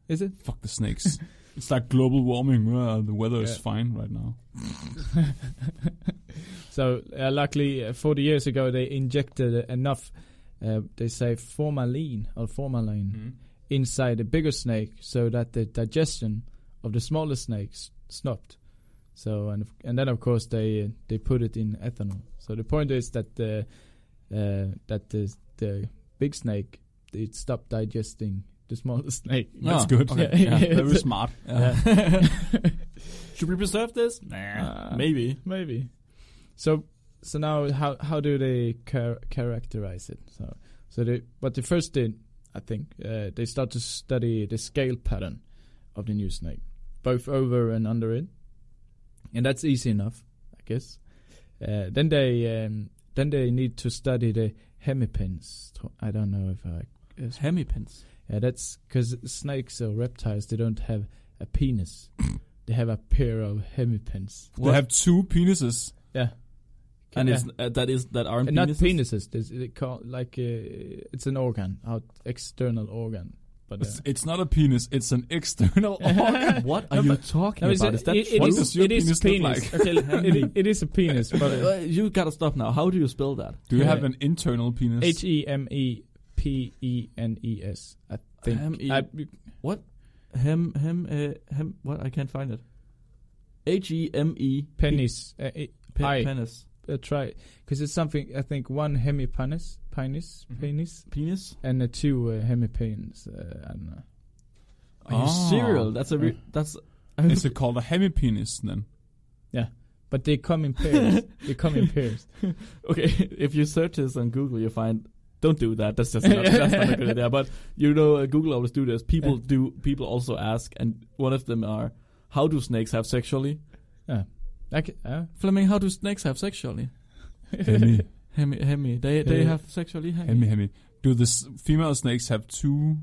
[SPEAKER 3] Is it?
[SPEAKER 1] Fuck the snakes. it's like global warming. Well, the weather is
[SPEAKER 3] Yeah.
[SPEAKER 1] fine right now.
[SPEAKER 3] so uh, luckily, uh, 40 years ago, they injected enough. Uh, they say formalin or formalin
[SPEAKER 1] Hmm.
[SPEAKER 3] inside the bigger snake, so that the digestion of the smaller snakes stopped. So and and then of course they uh, they put it in ethanol. So the point is that the uh, that the the big snake it stopped digesting the smaller snake.
[SPEAKER 1] That's
[SPEAKER 2] Ah,
[SPEAKER 1] good.
[SPEAKER 2] okay.
[SPEAKER 1] Yeah,
[SPEAKER 3] Yeah.
[SPEAKER 1] Very smart.
[SPEAKER 3] Yeah.
[SPEAKER 2] Should we preserve this? Nah,
[SPEAKER 3] Uh,
[SPEAKER 2] maybe.
[SPEAKER 3] Maybe. So so now how how do they char- characterize it? So so they what they first did, I think, uh, they start to study the scale pattern of the new snake, both over and under it, and that's easy enough, I guess. Uh, then they um, then they need to study the hemipins. I don't know if I. it's-
[SPEAKER 2] Hemipens.
[SPEAKER 3] Yeah, that's because snakes or reptiles they don't have a penis. they have a pair of hemipins.
[SPEAKER 1] They have two penises.
[SPEAKER 3] Yeah.
[SPEAKER 2] and
[SPEAKER 3] Yeah.
[SPEAKER 2] it's uh, that is that aren't
[SPEAKER 3] Uh, not
[SPEAKER 2] penises?
[SPEAKER 3] penises. This, they call like uh, it's an organ, out external organ. But uh,
[SPEAKER 1] It's, it's not a penis. It's an external organ.
[SPEAKER 2] What
[SPEAKER 3] No,
[SPEAKER 2] are you
[SPEAKER 3] but-
[SPEAKER 2] talking
[SPEAKER 3] no, it's
[SPEAKER 2] about?
[SPEAKER 3] a-
[SPEAKER 2] Is that
[SPEAKER 3] it- it
[SPEAKER 2] true?
[SPEAKER 1] What does your
[SPEAKER 3] it is
[SPEAKER 1] penis look
[SPEAKER 3] penis.
[SPEAKER 1] like?
[SPEAKER 3] okay, it, it is a penis, but
[SPEAKER 2] Uh, you gotta stop now. How do you spell that?
[SPEAKER 1] Do you
[SPEAKER 3] Yeah.
[SPEAKER 1] have an internal penis?
[SPEAKER 3] H E M E P E N E S. I think.
[SPEAKER 1] E
[SPEAKER 2] M-E-
[SPEAKER 3] I,
[SPEAKER 2] What? Hem hem uh, hem. What? I can't find it. H e m e
[SPEAKER 3] penis. Uh, it,
[SPEAKER 2] pe-
[SPEAKER 3] I.
[SPEAKER 2] penis
[SPEAKER 3] uh, try because it's something. I think one hemipenis, penis,
[SPEAKER 1] Mhm.
[SPEAKER 3] penis,
[SPEAKER 2] penis.
[SPEAKER 3] and uh, two uh, hemipens. Uh, I don't know.
[SPEAKER 2] Are you
[SPEAKER 1] Ah.
[SPEAKER 3] Oh.
[SPEAKER 2] serial? That's a re- that's.
[SPEAKER 1] Is it called a hemipenis then?
[SPEAKER 3] But they come in pairs. they come in pairs.
[SPEAKER 2] okay, if you search this on Google, you find. Don't do that. That's just not, that's not a good idea. But you know, uh, Google always do this. People do. People also ask, and one of them are, "How do snakes have sexually?"
[SPEAKER 3] Like, uh,
[SPEAKER 2] Fleming, how do snakes have sexually?
[SPEAKER 1] Hemi,
[SPEAKER 2] Hemi, hemi. They they
[SPEAKER 3] Hemi.
[SPEAKER 2] have sexually. Hemi.
[SPEAKER 1] hemi, hemi. Do the s- female snakes have two?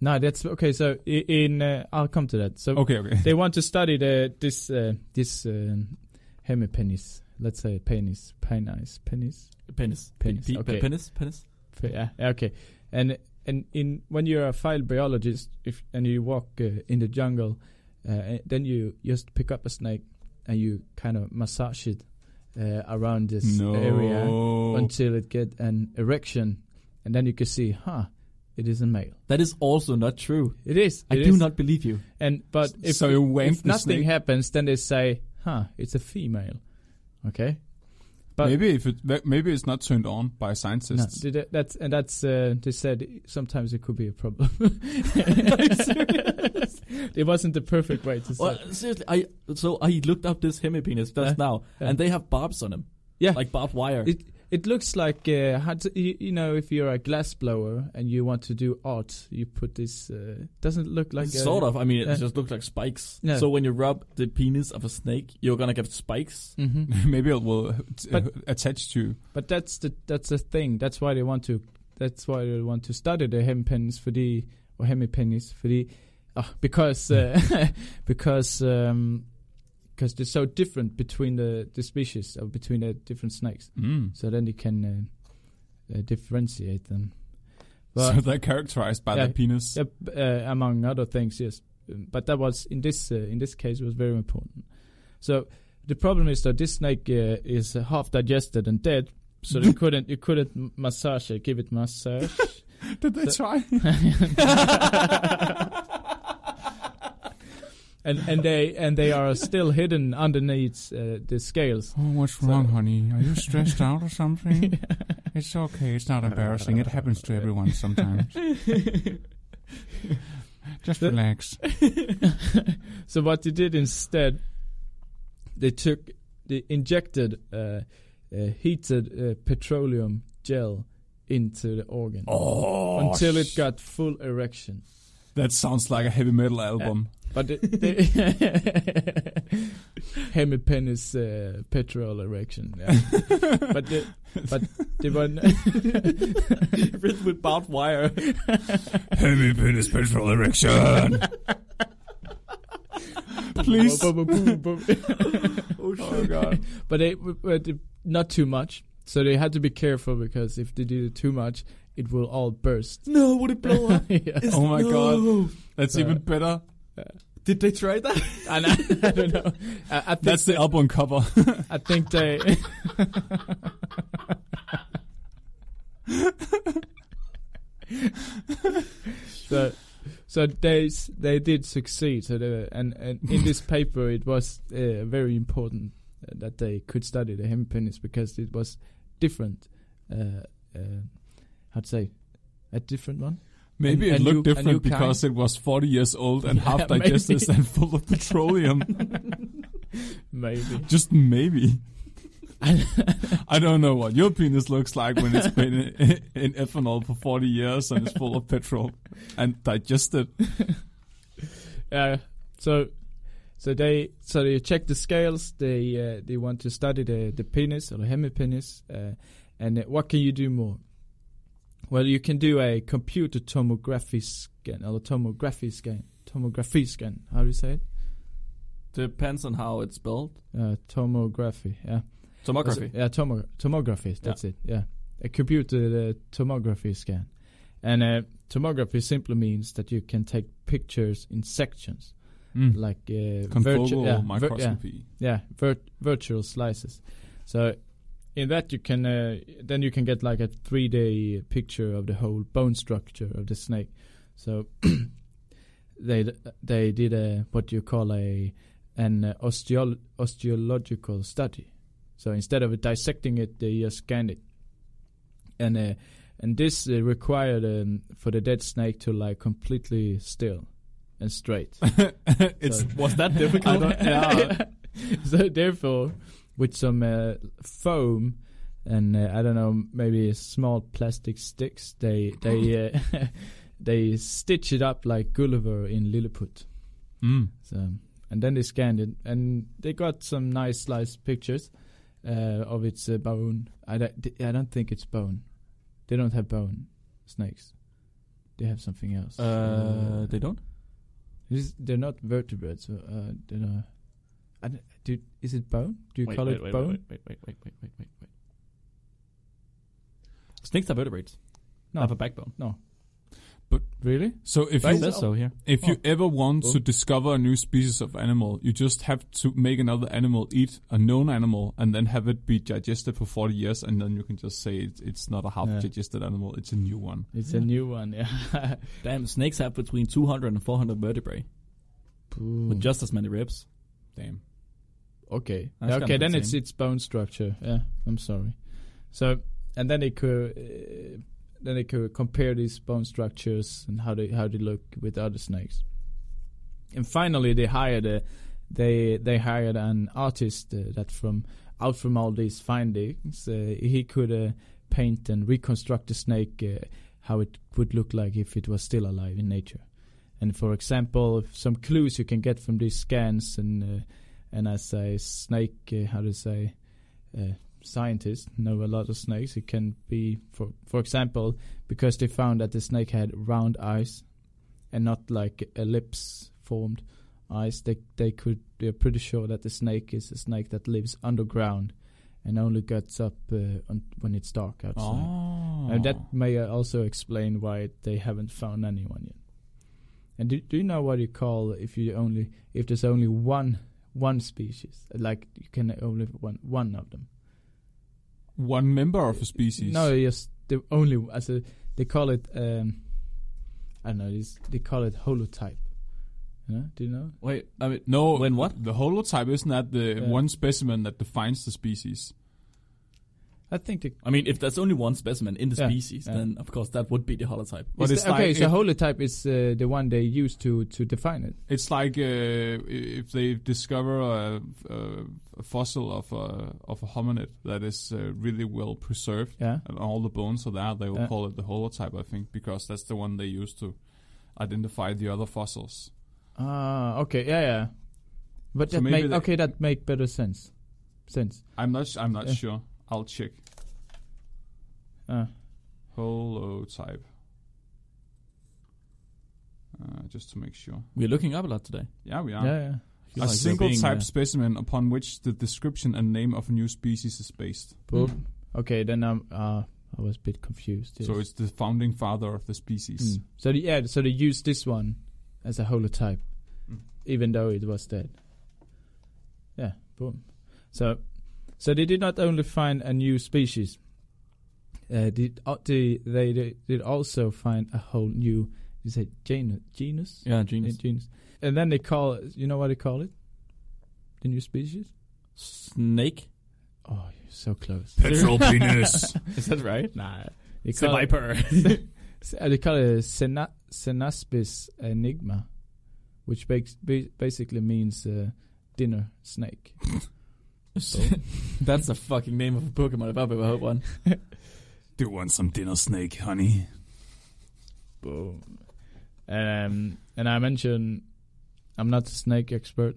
[SPEAKER 3] no, that's okay. So i- in uh, I'll come to that. So
[SPEAKER 1] Okay, okay.
[SPEAKER 3] they want to study the this uh, this um, hemipenis. Let's say penis, penis, penis.
[SPEAKER 2] Penis.
[SPEAKER 3] Penis,
[SPEAKER 2] Pe- pe-
[SPEAKER 3] okay.
[SPEAKER 2] Penis. Penis.
[SPEAKER 3] Fe- Yeah, okay. And and in when you're a file biologist, if and you walk uh, in the jungle, uh, then you just pick up a snake and you kind of massage it uh, around this
[SPEAKER 1] no.
[SPEAKER 3] area until it get an erection, and then you can see, huh, it is a male.
[SPEAKER 2] That is also not true.
[SPEAKER 3] It is.
[SPEAKER 2] I
[SPEAKER 3] it
[SPEAKER 2] do
[SPEAKER 3] is.
[SPEAKER 2] not believe you.
[SPEAKER 3] And but if
[SPEAKER 1] so you wank
[SPEAKER 3] if
[SPEAKER 1] the
[SPEAKER 3] nothing
[SPEAKER 1] snake.
[SPEAKER 3] happens, then they say, "Huh, it's a female." Okay, but-
[SPEAKER 1] maybe if it ma- maybe it's not turned on by
[SPEAKER 3] no,
[SPEAKER 1] scientists.
[SPEAKER 3] did it- that's and that's uh, they said sometimes it could be a problem. it wasn't the perfect way to say.
[SPEAKER 2] Well,
[SPEAKER 3] it.
[SPEAKER 2] seriously, I so I looked up this hemipenis just now,
[SPEAKER 3] yeah.
[SPEAKER 2] and they have barbs on them.
[SPEAKER 3] Yeah.
[SPEAKER 2] like barbed wire.
[SPEAKER 3] It it looks like uh, how to, you, you know if you're a glass blower and you want to do art, you put this. Uh, doesn't look like a-
[SPEAKER 2] sort of. I mean, it
[SPEAKER 3] yeah.
[SPEAKER 2] just looks like spikes.
[SPEAKER 3] Yeah.
[SPEAKER 2] So when you rub the penis of a snake, you're gonna get spikes.
[SPEAKER 3] Mhm.
[SPEAKER 1] maybe it will t-
[SPEAKER 3] But-
[SPEAKER 1] attach to.
[SPEAKER 3] But that's the that's the thing. That's why they want to. That's why they want to study the hemipens for the or hemipenis for the, ah, because uh, because um, because they're so different between the the species or between the different snakes.
[SPEAKER 1] Mm.
[SPEAKER 3] So then you can uh, uh, differentiate them.
[SPEAKER 1] so
[SPEAKER 3] But
[SPEAKER 1] they're characterized by
[SPEAKER 3] Yeah.
[SPEAKER 1] their penis.
[SPEAKER 3] yep, uh, among other things, yes. Um, But that was in this uh, in this case was very important. So the problem is that this snake uh, is half digested and dead, so you couldn't you couldn't m- massage it, give it massage.
[SPEAKER 1] Did they try?
[SPEAKER 3] and and they and they are still hidden underneath uh, the scales.
[SPEAKER 1] Oh, what's
[SPEAKER 3] wrong,
[SPEAKER 1] honey? Are you stressed out or something? It's okay. It's not embarrassing. It happens to everyone sometimes. Just relax.
[SPEAKER 3] So what they did instead, they took, they injected uh, uh, heated uh, petroleum gel into the organ
[SPEAKER 1] Oh,
[SPEAKER 3] until it got full erection.
[SPEAKER 1] that sounds like a heavy metal album.
[SPEAKER 3] But the, the hemipenis uh, petrol erection. Yeah. but the, but they were n-
[SPEAKER 2] Written with barbed wire.
[SPEAKER 4] Heavy penis petrol erection.
[SPEAKER 1] Please.
[SPEAKER 2] oh
[SPEAKER 1] oh god.
[SPEAKER 3] but they but they- not too much. So they had to be careful because if they did it too much, it will all burst.
[SPEAKER 2] No, would it blow up?
[SPEAKER 3] Yeah.
[SPEAKER 2] Is-
[SPEAKER 1] Oh my
[SPEAKER 2] no.
[SPEAKER 1] God. That's
[SPEAKER 3] Uh,
[SPEAKER 1] even better.
[SPEAKER 2] Did they try that?
[SPEAKER 3] And I, I don't know. I, I think
[SPEAKER 1] That's the album cover.
[SPEAKER 3] I think they. so, so they s- they did succeed. So they, were- and and in this paper, it was uh, very important uh, that they could study the hemipenis because it was different. Uh, uh, how'd say a different one?
[SPEAKER 1] Maybe it
[SPEAKER 3] And- and
[SPEAKER 1] looked
[SPEAKER 3] you- and you
[SPEAKER 1] different because it was 40 years old and half
[SPEAKER 3] maybe.
[SPEAKER 1] digested and full of petroleum.
[SPEAKER 3] Maybe.
[SPEAKER 1] Just maybe. I don't know what your penis looks like when it's been in, in ethanol for 40 years and it's full of petrol and digested.
[SPEAKER 3] Yeah. Uh, So, so they so they check the scales. They uh, they want to study the the penis or the hemipenis. Uh, and uh, what can you do more? Well, you can do a computer tomography scan or tomography scan. Tomography scan. How do you say it?
[SPEAKER 2] Depends on how it's spelled.
[SPEAKER 3] Uh, tomography. Yeah.
[SPEAKER 2] Tomography.
[SPEAKER 3] That's- Yeah, tomo- tomography. That's it. Yeah, a computer uh, tomography scan, and uh, tomography simply means that you can take pictures in sections,
[SPEAKER 1] Mm.
[SPEAKER 3] like uh, virtu-
[SPEAKER 1] Confocal
[SPEAKER 3] yeah, vir- yeah,
[SPEAKER 1] microscopy.
[SPEAKER 3] yeah virt- virtual slices so in that you can uh, then you can get like a 3d picture of the whole bone structure of the snake so they they did a what you call a an uh, osteol- osteological study so instead of dissecting it they just scanned it and uh, and this uh, required um, for the dead snake to lie completely still and straight
[SPEAKER 1] it's
[SPEAKER 2] Was that
[SPEAKER 3] I
[SPEAKER 2] difficult?
[SPEAKER 3] don't- yeah. so therefore, with some uh, foam and uh, I don't know, maybe small plastic sticks, they they uh, they stitch it up like Gulliver in Lilliput.
[SPEAKER 1] mm.
[SPEAKER 3] So and then they scanned it and they got some nice sliced pictures uh, of its uh, bone. I don't, I don't think it's bone. They don't have bone snakes. They have something else.
[SPEAKER 2] Uh, they don't.
[SPEAKER 3] This, they're not vertebrates. So, uh, they're not, I don't, do, is it bone? Do you
[SPEAKER 2] wait,
[SPEAKER 3] call
[SPEAKER 2] wait,
[SPEAKER 3] it
[SPEAKER 2] wait,
[SPEAKER 3] bone?
[SPEAKER 2] Wait, wait, wait, wait, wait, wait, wait, wait. Snakes are vertebrates.
[SPEAKER 3] No.
[SPEAKER 2] Have a backbone.
[SPEAKER 3] Really?
[SPEAKER 1] So if
[SPEAKER 2] It
[SPEAKER 1] you
[SPEAKER 2] says so here.
[SPEAKER 1] if you ever want
[SPEAKER 3] Oh.
[SPEAKER 1] to discover a new species of animal, you just have to make another animal eat a known animal and then have it be digested for 40 years, and then you can just say it, it's not a half
[SPEAKER 3] Yeah.
[SPEAKER 1] digested animal; it's a new one.
[SPEAKER 3] It's a new one. Yeah.
[SPEAKER 2] Damn, snakes have between 200 and 400 vertebrae with just as many ribs.
[SPEAKER 1] Damn.
[SPEAKER 3] okay.
[SPEAKER 2] That's kind
[SPEAKER 3] okay,
[SPEAKER 2] of
[SPEAKER 3] then it's
[SPEAKER 2] insane.
[SPEAKER 3] its bone structure. Yeah, I'm sorry. So, and then they could uh, then they could compare these bone structures and how they how they look with other snakes. And finally, they hired a they they hired an artist uh, that from out from all these findings, uh, he could uh, paint and reconstruct the snake uh, how it would look like if it was still alive in nature. And for example, some clues you can get from these scans and uh, and as a snake, uh, how to say, uh, scientist know a lot of snakes. It can be for for example because they found that the snake had round eyes and not like ellipse formed eyes. They they could they're pretty sure that the snake is a snake that lives underground and only gets up uh, on, when it's dark outside.
[SPEAKER 1] Oh.
[SPEAKER 3] And that may uh, also explain why they haven't found anyone yet. And do, do you know what you call if you only if there's only one one species like you can only have one one of them?
[SPEAKER 1] one member of a species.
[SPEAKER 3] No, yes, the only as a they call it um I don't know it's, they call it holotype. You know? Do you know?
[SPEAKER 2] Wait, I mean,
[SPEAKER 1] no.
[SPEAKER 2] When what?
[SPEAKER 1] The holotype isn't that the
[SPEAKER 3] Yeah.
[SPEAKER 1] one specimen that defines the species?
[SPEAKER 3] I think the
[SPEAKER 2] I mean, if there's only one specimen in the
[SPEAKER 3] Yeah.
[SPEAKER 2] species,
[SPEAKER 3] Yeah.
[SPEAKER 2] then of course that would be the holotype.
[SPEAKER 1] But
[SPEAKER 3] Is
[SPEAKER 1] it's
[SPEAKER 3] the- okay,
[SPEAKER 1] like
[SPEAKER 3] so
[SPEAKER 1] if-
[SPEAKER 3] holotype is uh, the one they use to to define it.
[SPEAKER 1] It's like uh, i- if they discover a, a, a fossil of a of a hominid that is uh, really well preserved
[SPEAKER 3] Yeah.
[SPEAKER 1] and all the bones are there, they will
[SPEAKER 3] Yeah.
[SPEAKER 1] call it the holotype, I think, because that's the one they use to identify the other fossils.
[SPEAKER 3] Ah, okay, yeah, yeah. But
[SPEAKER 1] So
[SPEAKER 3] that
[SPEAKER 1] maybe
[SPEAKER 3] make
[SPEAKER 1] they-
[SPEAKER 3] okay that make better sense. Sense.
[SPEAKER 1] I'm not. s- I'm not
[SPEAKER 3] Yeah.
[SPEAKER 1] sure. I'll check.
[SPEAKER 3] Uh,
[SPEAKER 1] Holotype. Uh, just to make sure.
[SPEAKER 2] We're looking up a lot today.
[SPEAKER 1] Yeah, we
[SPEAKER 3] yeah,
[SPEAKER 1] are.
[SPEAKER 3] yeah.
[SPEAKER 2] I
[SPEAKER 1] A
[SPEAKER 2] feel like we're
[SPEAKER 1] single
[SPEAKER 2] being,
[SPEAKER 1] type
[SPEAKER 2] uh,
[SPEAKER 1] specimen upon which the description and name of a new species is based.
[SPEAKER 3] Boom. Mm. Okay, then I'm. Uh, I was a bit confused.
[SPEAKER 1] So
[SPEAKER 3] yes.
[SPEAKER 1] it's the founding father of the species.
[SPEAKER 3] Mm. So the, yeah, so they used this one as a holotype,
[SPEAKER 1] Mm.
[SPEAKER 3] even though it was dead. Yeah, boom. So, so they did not only find a new species. Uh, did uh, they, they they did also find a whole new you say genus genus
[SPEAKER 2] yeah,
[SPEAKER 3] Uh,
[SPEAKER 2] genus.
[SPEAKER 3] genus, and then they call it- you know what they call it the new species.
[SPEAKER 2] Snake.
[SPEAKER 3] Oh, you're so close.
[SPEAKER 4] Petrol penis.
[SPEAKER 2] Is that right?
[SPEAKER 3] Nah, they
[SPEAKER 2] It's the
[SPEAKER 3] call it,
[SPEAKER 2] viper.
[SPEAKER 3] Uh, they call it a sena- Senaspis enigma, which bas- ba- basically means uh, dinner snake.
[SPEAKER 2] That's the fucking name of a Pokemon if I've ever heard one.
[SPEAKER 4] Do you want some dinner snake, honey?
[SPEAKER 3] Boom. Um, and I mentioned I'm not a snake expert,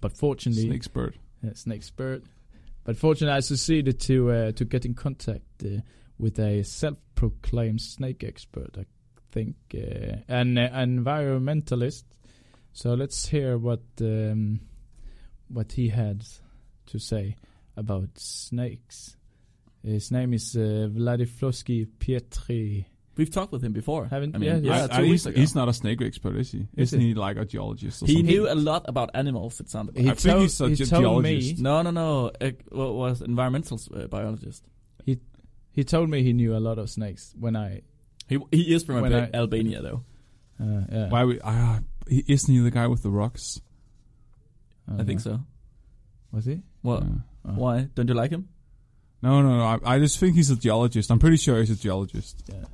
[SPEAKER 3] but fortunately,
[SPEAKER 1] Snake's bird.
[SPEAKER 3] uh, snake expert. But fortunately, I succeeded to uh, to get in contact uh, with a self-proclaimed snake expert. I think uh, an uh, environmentalist. So let's hear what um, what he had to say about snakes. His name is uh, Vladivosky Pietri.
[SPEAKER 2] We've talked with him before.
[SPEAKER 3] Haven't-
[SPEAKER 2] I mean,
[SPEAKER 3] yeah, yeah.
[SPEAKER 2] yeah,
[SPEAKER 1] I-
[SPEAKER 2] two
[SPEAKER 1] I-
[SPEAKER 2] weeks
[SPEAKER 1] he's,
[SPEAKER 2] ago.
[SPEAKER 1] he's not a snake expert, is he? Isn't he like a geologist or
[SPEAKER 2] he
[SPEAKER 1] something?
[SPEAKER 2] knew a lot about animals. It sounded
[SPEAKER 1] I
[SPEAKER 2] like.
[SPEAKER 1] think he's a ge- geologist.
[SPEAKER 3] me
[SPEAKER 2] No, no, no. Uh, what was environmental uh, biologist?
[SPEAKER 3] he told me he knew a lot of snakes when I
[SPEAKER 2] He he is from
[SPEAKER 3] When
[SPEAKER 2] Alba-
[SPEAKER 3] I-
[SPEAKER 2] Albania though.
[SPEAKER 3] uh, yeah,
[SPEAKER 1] Why would, uh, he, isn't he the guy with the rocks?
[SPEAKER 3] uh,
[SPEAKER 2] I think so.
[SPEAKER 3] Was he?
[SPEAKER 2] What?
[SPEAKER 1] Yeah.
[SPEAKER 3] Uh,
[SPEAKER 2] Why don't you like him?
[SPEAKER 1] No, no, no. I, I just think he's a geologist. I'm pretty sure he's a geologist.
[SPEAKER 3] Yeah.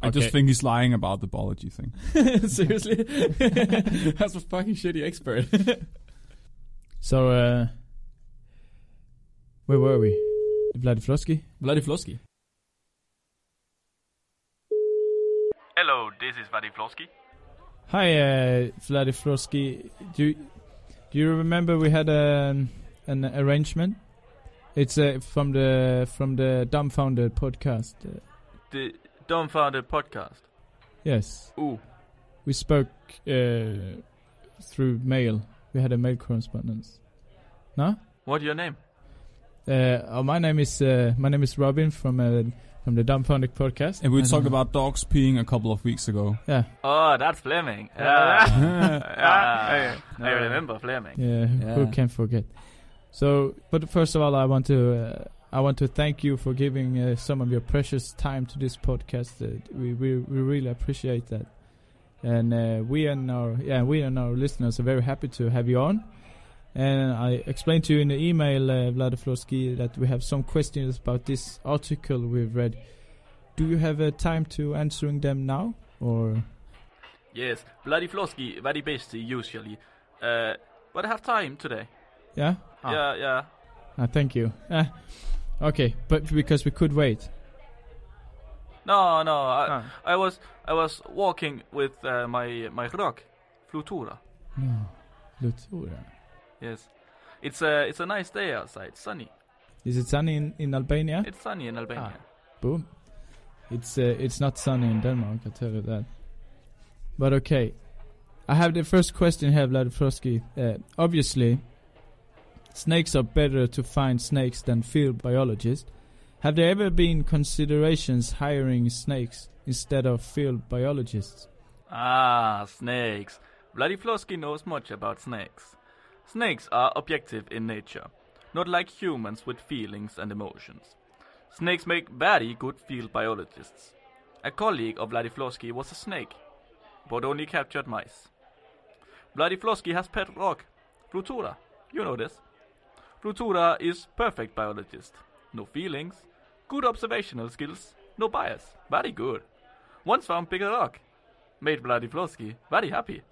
[SPEAKER 1] I just
[SPEAKER 3] Okay.
[SPEAKER 1] think he's lying about the biology thing.
[SPEAKER 2] Seriously, that's a fucking shitty expert.
[SPEAKER 3] So, uh, where were we? Vladivostok?
[SPEAKER 2] Vladivostok.
[SPEAKER 5] Hello, this is Vadiflosky.
[SPEAKER 3] Hi, uh, Vladivostok. Do you, do you remember we had an an arrangement? It's uh, from the from the dumbfounded podcast. Uh,
[SPEAKER 5] The Dumbfounded Podcast.
[SPEAKER 3] yes,
[SPEAKER 5] Ooh.
[SPEAKER 3] we spoke uh, through mail. We had a mail correspondence. No?
[SPEAKER 5] What's your name?
[SPEAKER 3] Uh, oh, my name is uh, my name is Robin from uh, from the dumbfounded podcast.
[SPEAKER 1] And we
[SPEAKER 2] I don't
[SPEAKER 1] talked
[SPEAKER 2] know.
[SPEAKER 1] about dogs peeing a couple of weeks ago.
[SPEAKER 3] Yeah,
[SPEAKER 5] Oh, that's Fleming.
[SPEAKER 3] Ah.
[SPEAKER 5] Ah.
[SPEAKER 3] Ah.
[SPEAKER 5] I remember Fleming.
[SPEAKER 3] Yeah, who
[SPEAKER 2] Yeah.
[SPEAKER 3] can forget? So, but first of all, I want to uh, I want to thank you for giving uh, some of your precious time to this podcast. Uh, we, we we really appreciate that, and uh, we and our yeah we and our listeners are very happy to have you on. And I explained to you in the email, uh, Vladivostok, that we have some questions about this article we've read. Do you have uh, time to answering them now, or
[SPEAKER 5] Yes, Vladivosky, very busy usually. Uh, but I have time today.
[SPEAKER 3] yeah?
[SPEAKER 5] Yeah, yeah.
[SPEAKER 3] Ah, thank you. Ah, okay, but because we could wait.
[SPEAKER 5] No, no. I, I was I was walking with uh, my my rock, Flutura.
[SPEAKER 3] No. Lutura.
[SPEAKER 5] Yes. It's a it's a nice day outside. Sunny.
[SPEAKER 3] Is it sunny in, in Albania?
[SPEAKER 5] It's sunny in Albania.
[SPEAKER 3] Boom. It's uh, it's not sunny in Denmark, I tell you that. But okay. I have the first question here, Vladivostok. Uh, obviously, snakes are better to find snakes than field biologists. Have there ever been considerations hiring snakes instead of field biologists?
[SPEAKER 5] Ah, snakes. Vladivostok knows much about snakes. Snakes are objective in nature, not like humans with feelings and emotions. Snakes make very good field biologists. A colleague of Vladivostok was a snake, but only captured mice. Vladivostok has pet rock, Plutura. You know this. Plutura is perfect biologist. no feelings, good observational skills, no bias, very good. Once found bigger rock, made Vladivostok very happy.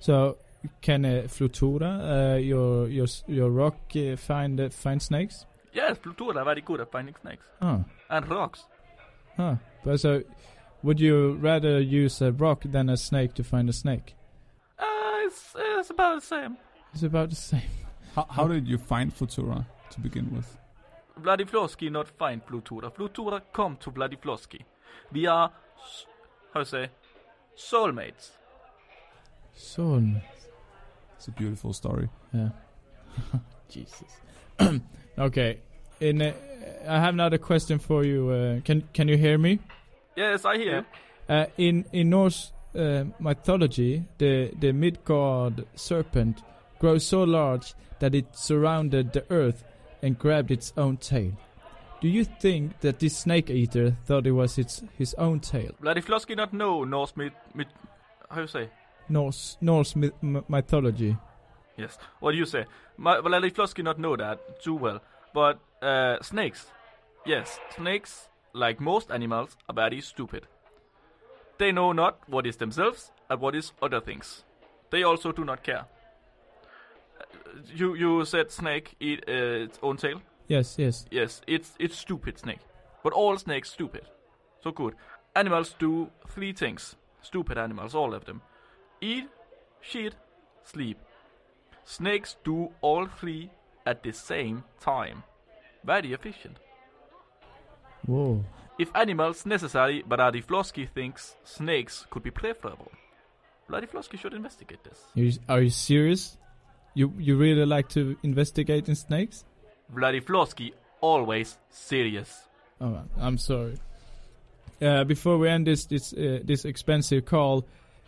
[SPEAKER 3] So can uh, Flutura, uh, your your s- your rock, uh, find uh, find snakes?
[SPEAKER 5] Yes, Plutura are very good at finding snakes
[SPEAKER 3] Oh,
[SPEAKER 5] and rocks.
[SPEAKER 3] huh. But so, would you rather use a rock than a snake to find a snake?
[SPEAKER 5] Uh, it's, it's about the same.
[SPEAKER 3] It's about the same.
[SPEAKER 1] How, how did you find Futura to begin with?
[SPEAKER 5] Vladivostok not find Plutura. Plutura come to Vladivostok. We are, s- how to say, soulmates.
[SPEAKER 3] Soulmate.
[SPEAKER 1] It's a beautiful story.
[SPEAKER 3] Yeah. Jesus. okay. In uh, I have another question for you. Uh, can can you hear me?
[SPEAKER 5] Yes, I hear.
[SPEAKER 3] Uh, in in Norse uh, mythology, the the Midgard serpent grows so large that it surrounded the earth and grabbed its own tail. Do you think that this snake eater thought it was its his own tail?
[SPEAKER 5] Vladivostok not know Norse myth, myth, how you say?
[SPEAKER 3] Norse Norse myth- m- mythology.
[SPEAKER 5] Yes. What do you say? My, Vladivostok not know that too well. But uh, snakes, yes, snakes, like most animals, are very stupid. They know not what is themselves and what is other things. They also do not care. Uh, You you said snake eat uh, its own tail.
[SPEAKER 3] Yes, yes.
[SPEAKER 5] Yes, it's it's stupid snake. But all snakes stupid. So good. Animals do three things. Stupid animals, all of them. Eat, shit, sleep. Snakes do all three at the same time. Very efficient.
[SPEAKER 3] Whoa.
[SPEAKER 5] If animals necessary, Vladivostok thinks snakes could be preferable. Vladivostok should investigate this.
[SPEAKER 3] You, are you serious? You you really like to investigate in snakes?
[SPEAKER 5] Vladivostok always serious.
[SPEAKER 3] Oh, I'm sorry. Uh, before we end this this uh, this expensive call,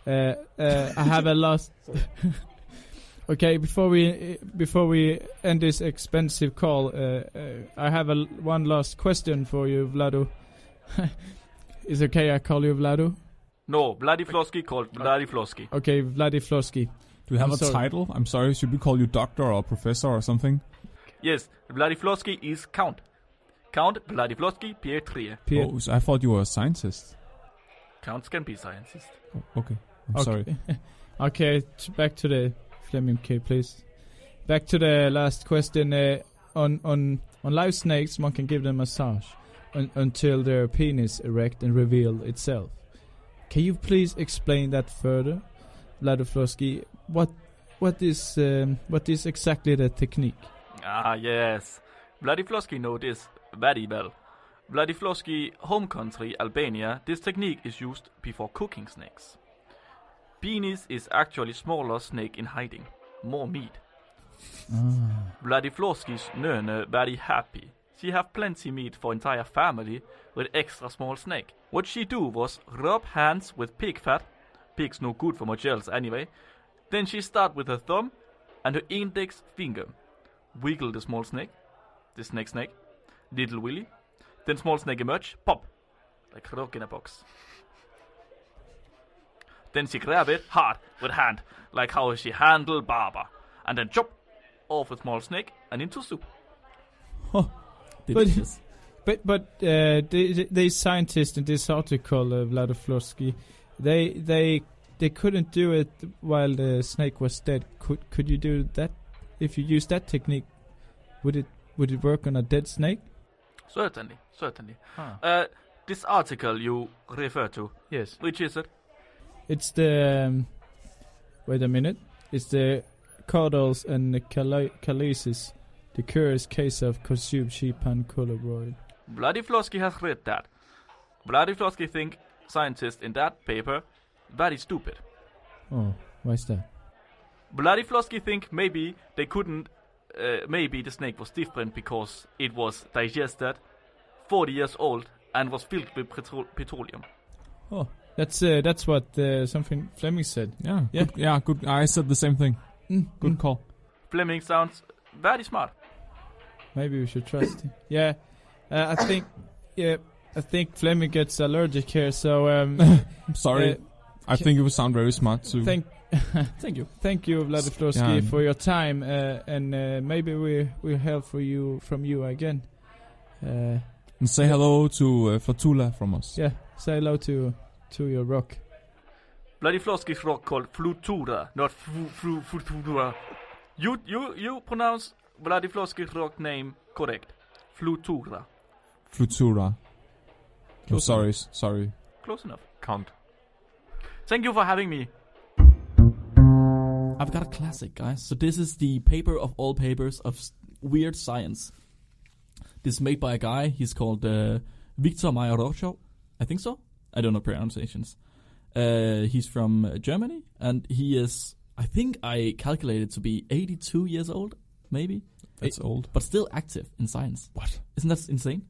[SPEAKER 3] uh, uh, I have a last. okay, before we before we end this expensive call, uh, uh, I have a l- one last question for you, Vlado. Is it okay I call you Vlado?
[SPEAKER 5] No, Vladivostok called Vladivostok.
[SPEAKER 3] Okay, Vladiflosky.
[SPEAKER 1] Do you have
[SPEAKER 3] I'm
[SPEAKER 1] a
[SPEAKER 3] sorry.
[SPEAKER 1] title? I'm sorry. Should we call you doctor or professor or something?
[SPEAKER 5] Yes, Vladivostok is count. Count Vladivostok Pietrie.
[SPEAKER 3] Pierre.
[SPEAKER 1] Oh, so I thought you were a scientist.
[SPEAKER 5] Counts can be scientists.
[SPEAKER 1] Oh, okay. I'm
[SPEAKER 3] Okay.
[SPEAKER 1] sorry.
[SPEAKER 3] Okay, t- back to the Fleming K, please. Back to the last question. Uh, on on on live snakes, one can give them massage un- until their penis erect and reveal itself. Can you please explain that further, Vladoslavsky? What what is um, what is exactly the technique?
[SPEAKER 5] Ah, yes. Vladivostok know this very well. Vladivostok home country, Albania, this technique is used before cooking snakes. Penis is actually smaller snake in hiding. More meat. Vladivostok's nurne very happy. She have plenty meat for entire family with extra small snake. What she do was rub hands with pig fat. Pig's no good for much else anyway. Then she start with her thumb and her index finger. Wiggle the small snake. The snake snake. Little Willy. Then small snake emerge. Pop. Like rock in a box. Then she grab it hard with hand. Like how she handle Baba. And then chop off a small snake and into soup.
[SPEAKER 2] Delicious.
[SPEAKER 3] But but uh, the- the- these scientists in this article, uh, Vladoslavsky, they they they couldn't do it while the snake was dead. Could could you do that if you use that technique? Would it would it work on a dead snake?
[SPEAKER 5] Certainly, certainly. Uh, this article you refer to,
[SPEAKER 3] Yes.
[SPEAKER 5] which is it?
[SPEAKER 3] It's the um, wait a minute. It's the caudals and the cali- calices, the curious case of consumed sheep and colobroid.
[SPEAKER 5] Vladivostok has read that. Vladivostok think scientists in that paper very stupid.
[SPEAKER 3] Oh, why is that?
[SPEAKER 5] Vladivostok think maybe they couldn't, uh, maybe the snake was different because it was digested, 40 years old, and was filled with petro- petroleum.
[SPEAKER 3] That's uh, that's what uh, something Fleming said.
[SPEAKER 1] Yeah.
[SPEAKER 3] Yeah.
[SPEAKER 1] Good, yeah. Good. I said the same thing.
[SPEAKER 3] Mm,
[SPEAKER 1] Good
[SPEAKER 3] mm.
[SPEAKER 1] call.
[SPEAKER 5] Fleming sounds very smart.
[SPEAKER 3] Maybe we should trust him. Yeah, uh, I think. Yeah, I think Fleming gets allergic here. So um,
[SPEAKER 1] I'm sorry.
[SPEAKER 3] uh,
[SPEAKER 1] I think it would sound very smart to.
[SPEAKER 3] thank
[SPEAKER 2] Thank you.
[SPEAKER 3] thank you, Vladislavski,
[SPEAKER 1] Yeah, and-
[SPEAKER 3] for your time. Uh, and uh, maybe we will hear for you from you again. Uh,
[SPEAKER 1] And say hello to uh, Fatula from us.
[SPEAKER 3] yeah, say hello to to your rock.
[SPEAKER 5] Bloody Flosky's rock called Flutura, not fru, fru, Flutura. You you you pronounce Bloody Flosky's rock name correct. Flutura.
[SPEAKER 1] Flutura. Oh, sorry, s- sorry.
[SPEAKER 5] Close enough.
[SPEAKER 6] Can't.
[SPEAKER 5] Thank you for having me.
[SPEAKER 2] I've got a classic, guys. So this is the paper of all papers of s- weird science. This is made by a guy. He's called uh, Victor Meyer Rochow. I think so. I don't know pronunciations. Uh, he's from uh, Germany, and he is. I think I calculated to be 82 years old, maybe,
[SPEAKER 1] That's old.
[SPEAKER 2] but still active in science.
[SPEAKER 1] What?
[SPEAKER 2] Isn't that insane?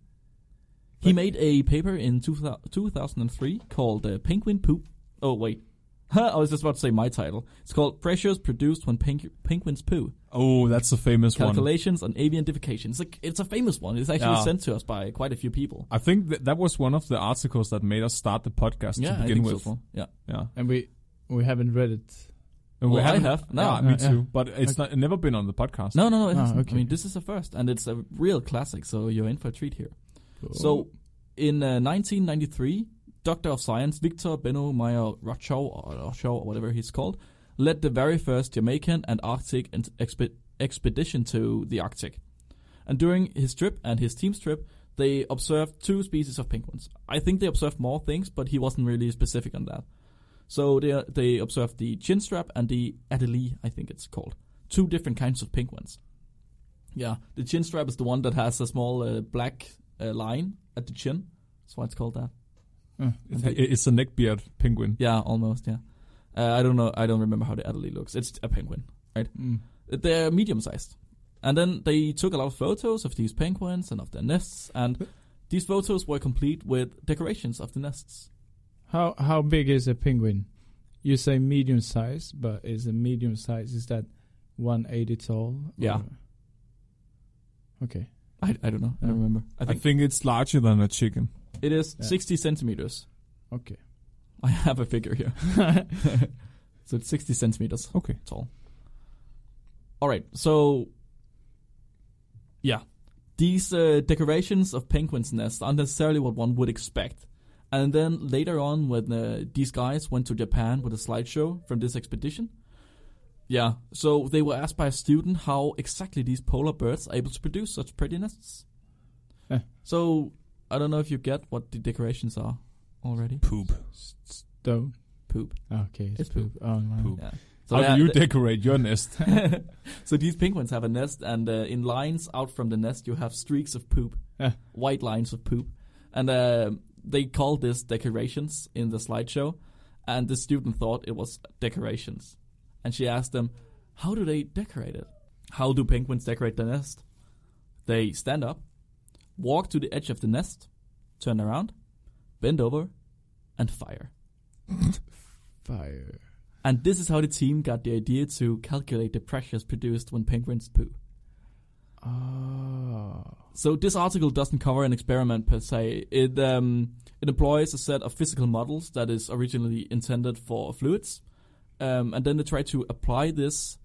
[SPEAKER 2] He made a paper in 2000, 2003 called uh, Penguin Poop. Oh, wait. I was just about to say my title. It's called Pressures Produced When Pengu- Penguins Poo.
[SPEAKER 1] Oh, that's a famous one. Ah.
[SPEAKER 2] Calculations on Avian Defecation. It's, like, it's a famous one. It's actually
[SPEAKER 1] Yeah.
[SPEAKER 2] sent to us by quite a few people.
[SPEAKER 1] I think that, that was one of the articles that made us start the podcast
[SPEAKER 2] yeah,
[SPEAKER 1] to
[SPEAKER 2] I
[SPEAKER 1] begin
[SPEAKER 2] think
[SPEAKER 1] with.
[SPEAKER 2] so. Yeah.
[SPEAKER 1] Yeah.
[SPEAKER 3] And we we haven't read it.
[SPEAKER 1] And
[SPEAKER 2] Well, I
[SPEAKER 1] haven't-
[SPEAKER 2] have. No.
[SPEAKER 1] Yeah, me
[SPEAKER 3] Yeah,
[SPEAKER 1] too. But it's not never been on the podcast.
[SPEAKER 2] No, no, no. It
[SPEAKER 3] Ah,
[SPEAKER 2] hasn't. I
[SPEAKER 3] okay.
[SPEAKER 2] mean, this is a first, and it's a real classic, so you're in for a treat here. So, in uh, 1993, Doctor of Science Victor Benno Meyer Rochow, or Rochow, or whatever he's called, led the very first Jamaican and Arctic and expe- expedition to the Arctic. And during his trip and his team's trip, they observed two species of penguins. I think they observed more things, but he wasn't really specific on that. So they they observed the chinstrap and the adelie, I think it's called, two different kinds of penguins. Yeah, the chinstrap is the one that has a small uh, black uh, line at the chin. That's why it's called that.
[SPEAKER 3] Oh. Uh.
[SPEAKER 1] It's, it's a neckbeard penguin.
[SPEAKER 2] Yeah, almost. Yeah, uh, I don't know. I don't remember how the adelie looks. It's a penguin.
[SPEAKER 3] Mm.
[SPEAKER 2] They're medium sized, and then they took a lot of photos of these penguins and of their nests, and these photos were complete with decorations of the nests.
[SPEAKER 3] How how big is a penguin? You say medium size, but is a medium size is that 180 tall?
[SPEAKER 2] Yeah.
[SPEAKER 3] or- Okay.
[SPEAKER 2] I, I don't know. I don't
[SPEAKER 3] Yeah.
[SPEAKER 2] remember. I
[SPEAKER 1] I
[SPEAKER 2] think
[SPEAKER 1] think it's larger than a chicken.
[SPEAKER 2] it is
[SPEAKER 3] Hmm. Yeah.
[SPEAKER 2] sixty centimeters.
[SPEAKER 3] Okay.
[SPEAKER 2] I have a figure here. so it's 60 centimeters
[SPEAKER 1] Okay.
[SPEAKER 2] tall. All right, so yeah, these uh, decorations of penguins' nests aren't necessarily what one would expect. And then later on, when uh, these guys went to Japan with a slideshow from this expedition, yeah, so they were asked by a student how exactly these polar birds are able to produce such pretty nests.
[SPEAKER 3] Huh.
[SPEAKER 2] So I don't know if you get what the decorations are already.
[SPEAKER 4] Poop.
[SPEAKER 3] Stone.
[SPEAKER 2] Poop.
[SPEAKER 3] Okay. It's,
[SPEAKER 2] It's
[SPEAKER 3] poop. Oh, no.
[SPEAKER 4] Poop.
[SPEAKER 2] Yeah.
[SPEAKER 1] How
[SPEAKER 2] yeah,
[SPEAKER 1] do you
[SPEAKER 2] th-
[SPEAKER 1] decorate your nest?
[SPEAKER 2] so these penguins have a nest, and uh, in lines out from the nest, you have streaks of poop,
[SPEAKER 3] Yeah.
[SPEAKER 2] white lines of poop, and uh, they call this decorations in the slideshow. And the student thought it was decorations, and she asked them, "How do they decorate it? How do penguins decorate the nest? They stand up, walk to the edge of the nest, turn around, bend over, and fire."
[SPEAKER 3] Fire.
[SPEAKER 2] And this is how the team got the idea to calculate the pressures produced when penguins poo.
[SPEAKER 3] Oh.
[SPEAKER 2] So this article doesn't cover an experiment per se. It um, it employs a set of physical models that is originally intended for fluids, um, and then they try to apply this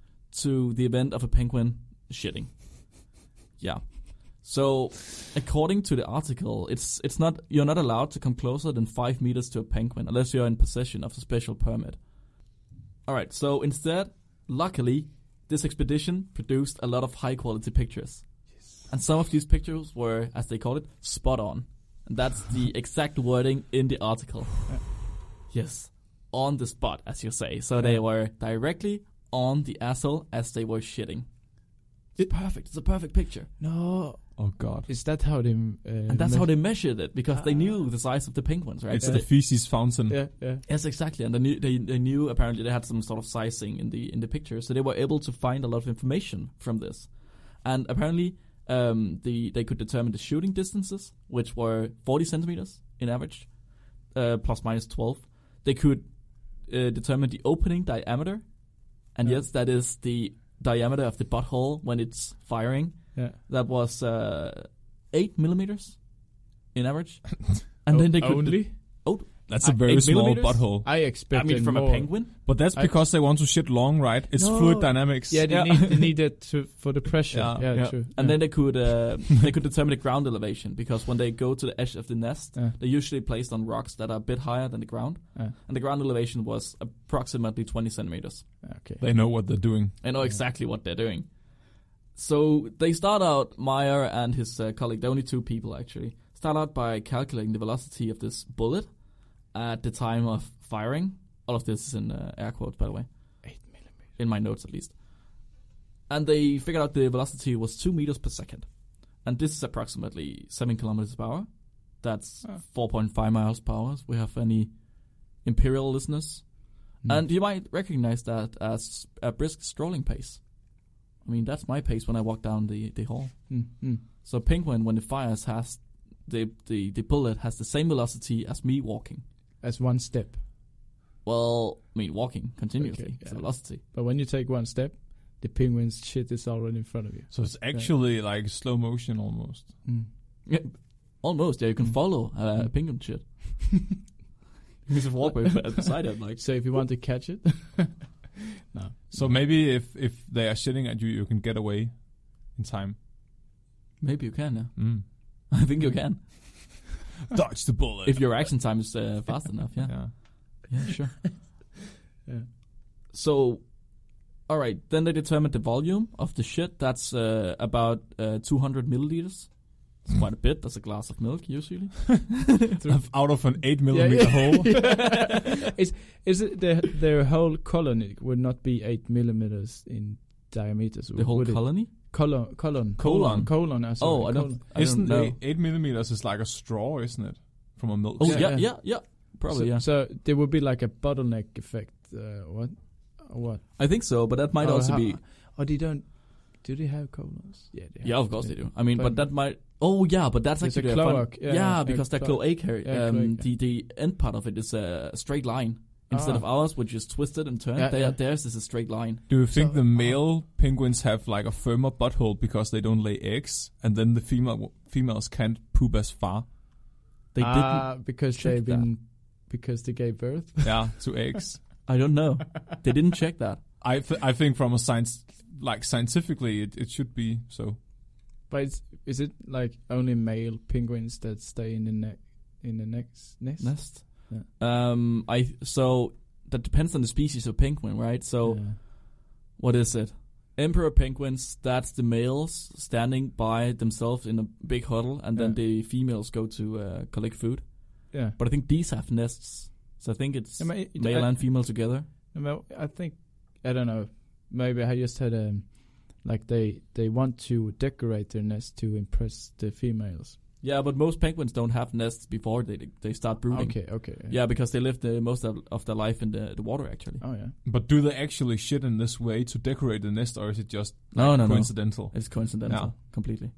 [SPEAKER 2] to the event of a penguin shitting. Yeah. So, according to the article, it's it's not you're not allowed to come closer than five meters to a penguin unless you're in possession of a special permit. All right. So instead, luckily, this expedition produced a lot of high quality pictures. And some of these pictures were, as they call it, spot on. And that's the exact wording in the article. Yes, on the spot, as you say. So they were directly on the asshole as they were shitting. It's perfect. It's a perfect picture.
[SPEAKER 3] No.
[SPEAKER 1] oh God.
[SPEAKER 3] Is that how they. m- Uh,
[SPEAKER 2] And that's how
[SPEAKER 3] measure-
[SPEAKER 2] they measured it because they knew the size of the penguins, right?
[SPEAKER 1] Ah. It's
[SPEAKER 2] So
[SPEAKER 1] the
[SPEAKER 2] they-
[SPEAKER 1] feces fountain.
[SPEAKER 3] Yeah, yeah.
[SPEAKER 2] yes, exactly. And they knew, they, they knew apparently they had some sort of sizing in the in the picture, so they were able to find a lot of information from this. And apparently, um, the they could determine the shooting distances, which were 40 centimeters in average, uh, plus minus 12. They could uh, determine the opening diameter, and
[SPEAKER 3] Yeah.
[SPEAKER 2] yes, that is the diameter of the butthole when it's firing
[SPEAKER 3] Yeah.
[SPEAKER 2] that was uh, eight millimeters in average, and
[SPEAKER 3] O-
[SPEAKER 2] then they could
[SPEAKER 3] only
[SPEAKER 2] oh,
[SPEAKER 1] That's a
[SPEAKER 3] Uh,
[SPEAKER 1] very
[SPEAKER 2] eight
[SPEAKER 1] small
[SPEAKER 2] millimeters?
[SPEAKER 1] butthole.
[SPEAKER 3] I
[SPEAKER 2] I
[SPEAKER 3] expected
[SPEAKER 2] mean, from
[SPEAKER 3] more.
[SPEAKER 2] a penguin.
[SPEAKER 1] But that's
[SPEAKER 3] I-
[SPEAKER 1] because they want to shit long, right? It's
[SPEAKER 2] No.
[SPEAKER 1] fluid dynamics.
[SPEAKER 3] Yeah, they
[SPEAKER 2] Yeah.
[SPEAKER 3] need they need that to, for the pressure.
[SPEAKER 1] Yeah,
[SPEAKER 3] Yeah,
[SPEAKER 1] yeah.
[SPEAKER 3] true.
[SPEAKER 2] And
[SPEAKER 3] yeah.
[SPEAKER 2] then they could uh, they could determine the ground elevation because when they go to the edge of the nest,
[SPEAKER 3] Yeah.
[SPEAKER 2] they're usually placed on rocks that are a bit higher than the ground,
[SPEAKER 3] Yeah.
[SPEAKER 2] and the ground elevation was approximately 20 centimeters.
[SPEAKER 3] okay.
[SPEAKER 1] They know what they're doing.
[SPEAKER 2] I know exactly what they're doing. So they start out, Meyer and his uh, colleague, they're only two people actually, start out by calculating the velocity of this bullet at the time of firing. All of this is in uh, air quotes, by the way,
[SPEAKER 3] Eight millimeters.
[SPEAKER 2] in my notes at least. And they figured out the velocity was two meters per second. And this is approximately seven kilometers per hour. That's
[SPEAKER 3] Ah.
[SPEAKER 2] 4.5 miles per hour. If we have any imperial listeners,
[SPEAKER 3] Hmm.
[SPEAKER 2] and you might recognize that as a brisk strolling pace. I mean, that's my pace when I walk down the, the hall.
[SPEAKER 3] Mm, mm.
[SPEAKER 2] So penguin, when it fires, has the, the the bullet has the same velocity as me walking.
[SPEAKER 3] That's one step.
[SPEAKER 2] Well, I mean, walking continuously.
[SPEAKER 3] Okay,
[SPEAKER 2] It's
[SPEAKER 3] yeah.
[SPEAKER 2] a velocity.
[SPEAKER 3] But when you take one step, the penguin's shit is already in front of you.
[SPEAKER 1] So it's actually like slow motion almost.
[SPEAKER 3] Mm.
[SPEAKER 2] Yeah, almost. Yeah, you can
[SPEAKER 3] Hmm.
[SPEAKER 2] follow uh, penguin shit. you can walk beside it, like
[SPEAKER 3] So if you want to catch it,
[SPEAKER 1] So maybe if if they are shitting at you, you can get away in time.
[SPEAKER 2] maybe you can. Yeah.
[SPEAKER 1] Mm.
[SPEAKER 2] I
[SPEAKER 3] Hmm.
[SPEAKER 2] think you can
[SPEAKER 1] Dodge the bullet.
[SPEAKER 2] if your action time is uh, fast enough. Yeah.
[SPEAKER 1] yeah.
[SPEAKER 2] Yeah, sure.
[SPEAKER 3] Yeah.
[SPEAKER 2] So, all right. Then they determined the volume of the shit. That's uh, about uh, 200 milliliters. It's quite a bit. That's a glass of milk usually.
[SPEAKER 1] out of an eight millimeter hole.
[SPEAKER 3] is is it their their whole colony would not be eight millimeters in diameter? So
[SPEAKER 2] The whole
[SPEAKER 3] would it-
[SPEAKER 2] colony.
[SPEAKER 3] colon colon
[SPEAKER 2] Colon.
[SPEAKER 3] colon. I
[SPEAKER 2] Oh, I don't. I don't
[SPEAKER 1] Isn't
[SPEAKER 2] know.
[SPEAKER 1] eight, eight millimeters is like a straw, isn't it? From a milk.
[SPEAKER 2] oh yeah,
[SPEAKER 1] sack.
[SPEAKER 2] yeah,
[SPEAKER 3] yeah.
[SPEAKER 2] yeah, Probably
[SPEAKER 3] so,
[SPEAKER 2] yeah.
[SPEAKER 3] So there would be like a bottleneck effect. Uh, what? What?
[SPEAKER 2] I think so, but that might
[SPEAKER 3] Oh,
[SPEAKER 2] also
[SPEAKER 3] how-
[SPEAKER 2] be.
[SPEAKER 3] Oh, they don't. Do they have colons? Yeah, they
[SPEAKER 2] Yeah,
[SPEAKER 3] have,
[SPEAKER 2] of course they do. I mean, but
[SPEAKER 3] But-
[SPEAKER 2] that might. Oh yeah, but that's
[SPEAKER 3] It's a
[SPEAKER 2] actually a fun-
[SPEAKER 3] cloac, yeah,
[SPEAKER 2] yeah,
[SPEAKER 3] yeah,
[SPEAKER 2] because that
[SPEAKER 3] cloac.
[SPEAKER 2] cloaca,
[SPEAKER 3] Yeah,
[SPEAKER 2] um,
[SPEAKER 3] cloaca.
[SPEAKER 2] the the end part of it is a straight line instead
[SPEAKER 3] Ah.
[SPEAKER 2] of ours, which is twisted and turned.
[SPEAKER 3] Yeah,
[SPEAKER 2] Their-
[SPEAKER 3] yeah.
[SPEAKER 2] Theirs is a straight line.
[SPEAKER 1] Do you think
[SPEAKER 3] So- uh-huh.
[SPEAKER 1] the male penguins have like a firmer butthole because they don't lay eggs, and then the female females can't poop as far?
[SPEAKER 2] They didn't.
[SPEAKER 3] Ah, because
[SPEAKER 2] check
[SPEAKER 3] they've been because they gave birth.
[SPEAKER 1] Yeah, to eggs.
[SPEAKER 2] I don't know. they didn't check that.
[SPEAKER 1] I th- I think from a science like scientifically it, it should be so.
[SPEAKER 3] But it's, is it like only male penguins that stay in the neck in the next nest?
[SPEAKER 2] Nest.
[SPEAKER 3] Yeah.
[SPEAKER 2] Um, I so that depends on the species of penguin, right? So
[SPEAKER 3] Yeah.
[SPEAKER 2] what is it? Emperor penguins. That's the males standing by themselves in a big huddle, and then
[SPEAKER 3] Yeah.
[SPEAKER 2] the females go to uh, collect food.
[SPEAKER 3] yeah.
[SPEAKER 2] But I think these have nests, so I think it's
[SPEAKER 3] I mean, it-
[SPEAKER 2] male
[SPEAKER 3] I-
[SPEAKER 2] and female together.
[SPEAKER 3] I mean, I think I don't know. Maybe I just had um, like they they want to decorate their nest to impress the females.
[SPEAKER 2] Yeah, but most penguins don't have nests before they they start brooding.
[SPEAKER 3] Okay, okay.
[SPEAKER 2] Mm. Yeah, because they live the most of, of their life in the, the water actually.
[SPEAKER 3] Oh yeah.
[SPEAKER 1] But do they actually shit in this way to decorate the nest, or is it just
[SPEAKER 2] No, no, no.
[SPEAKER 1] coincidental?
[SPEAKER 2] It's coincidental,
[SPEAKER 1] Yeah.
[SPEAKER 2] completely.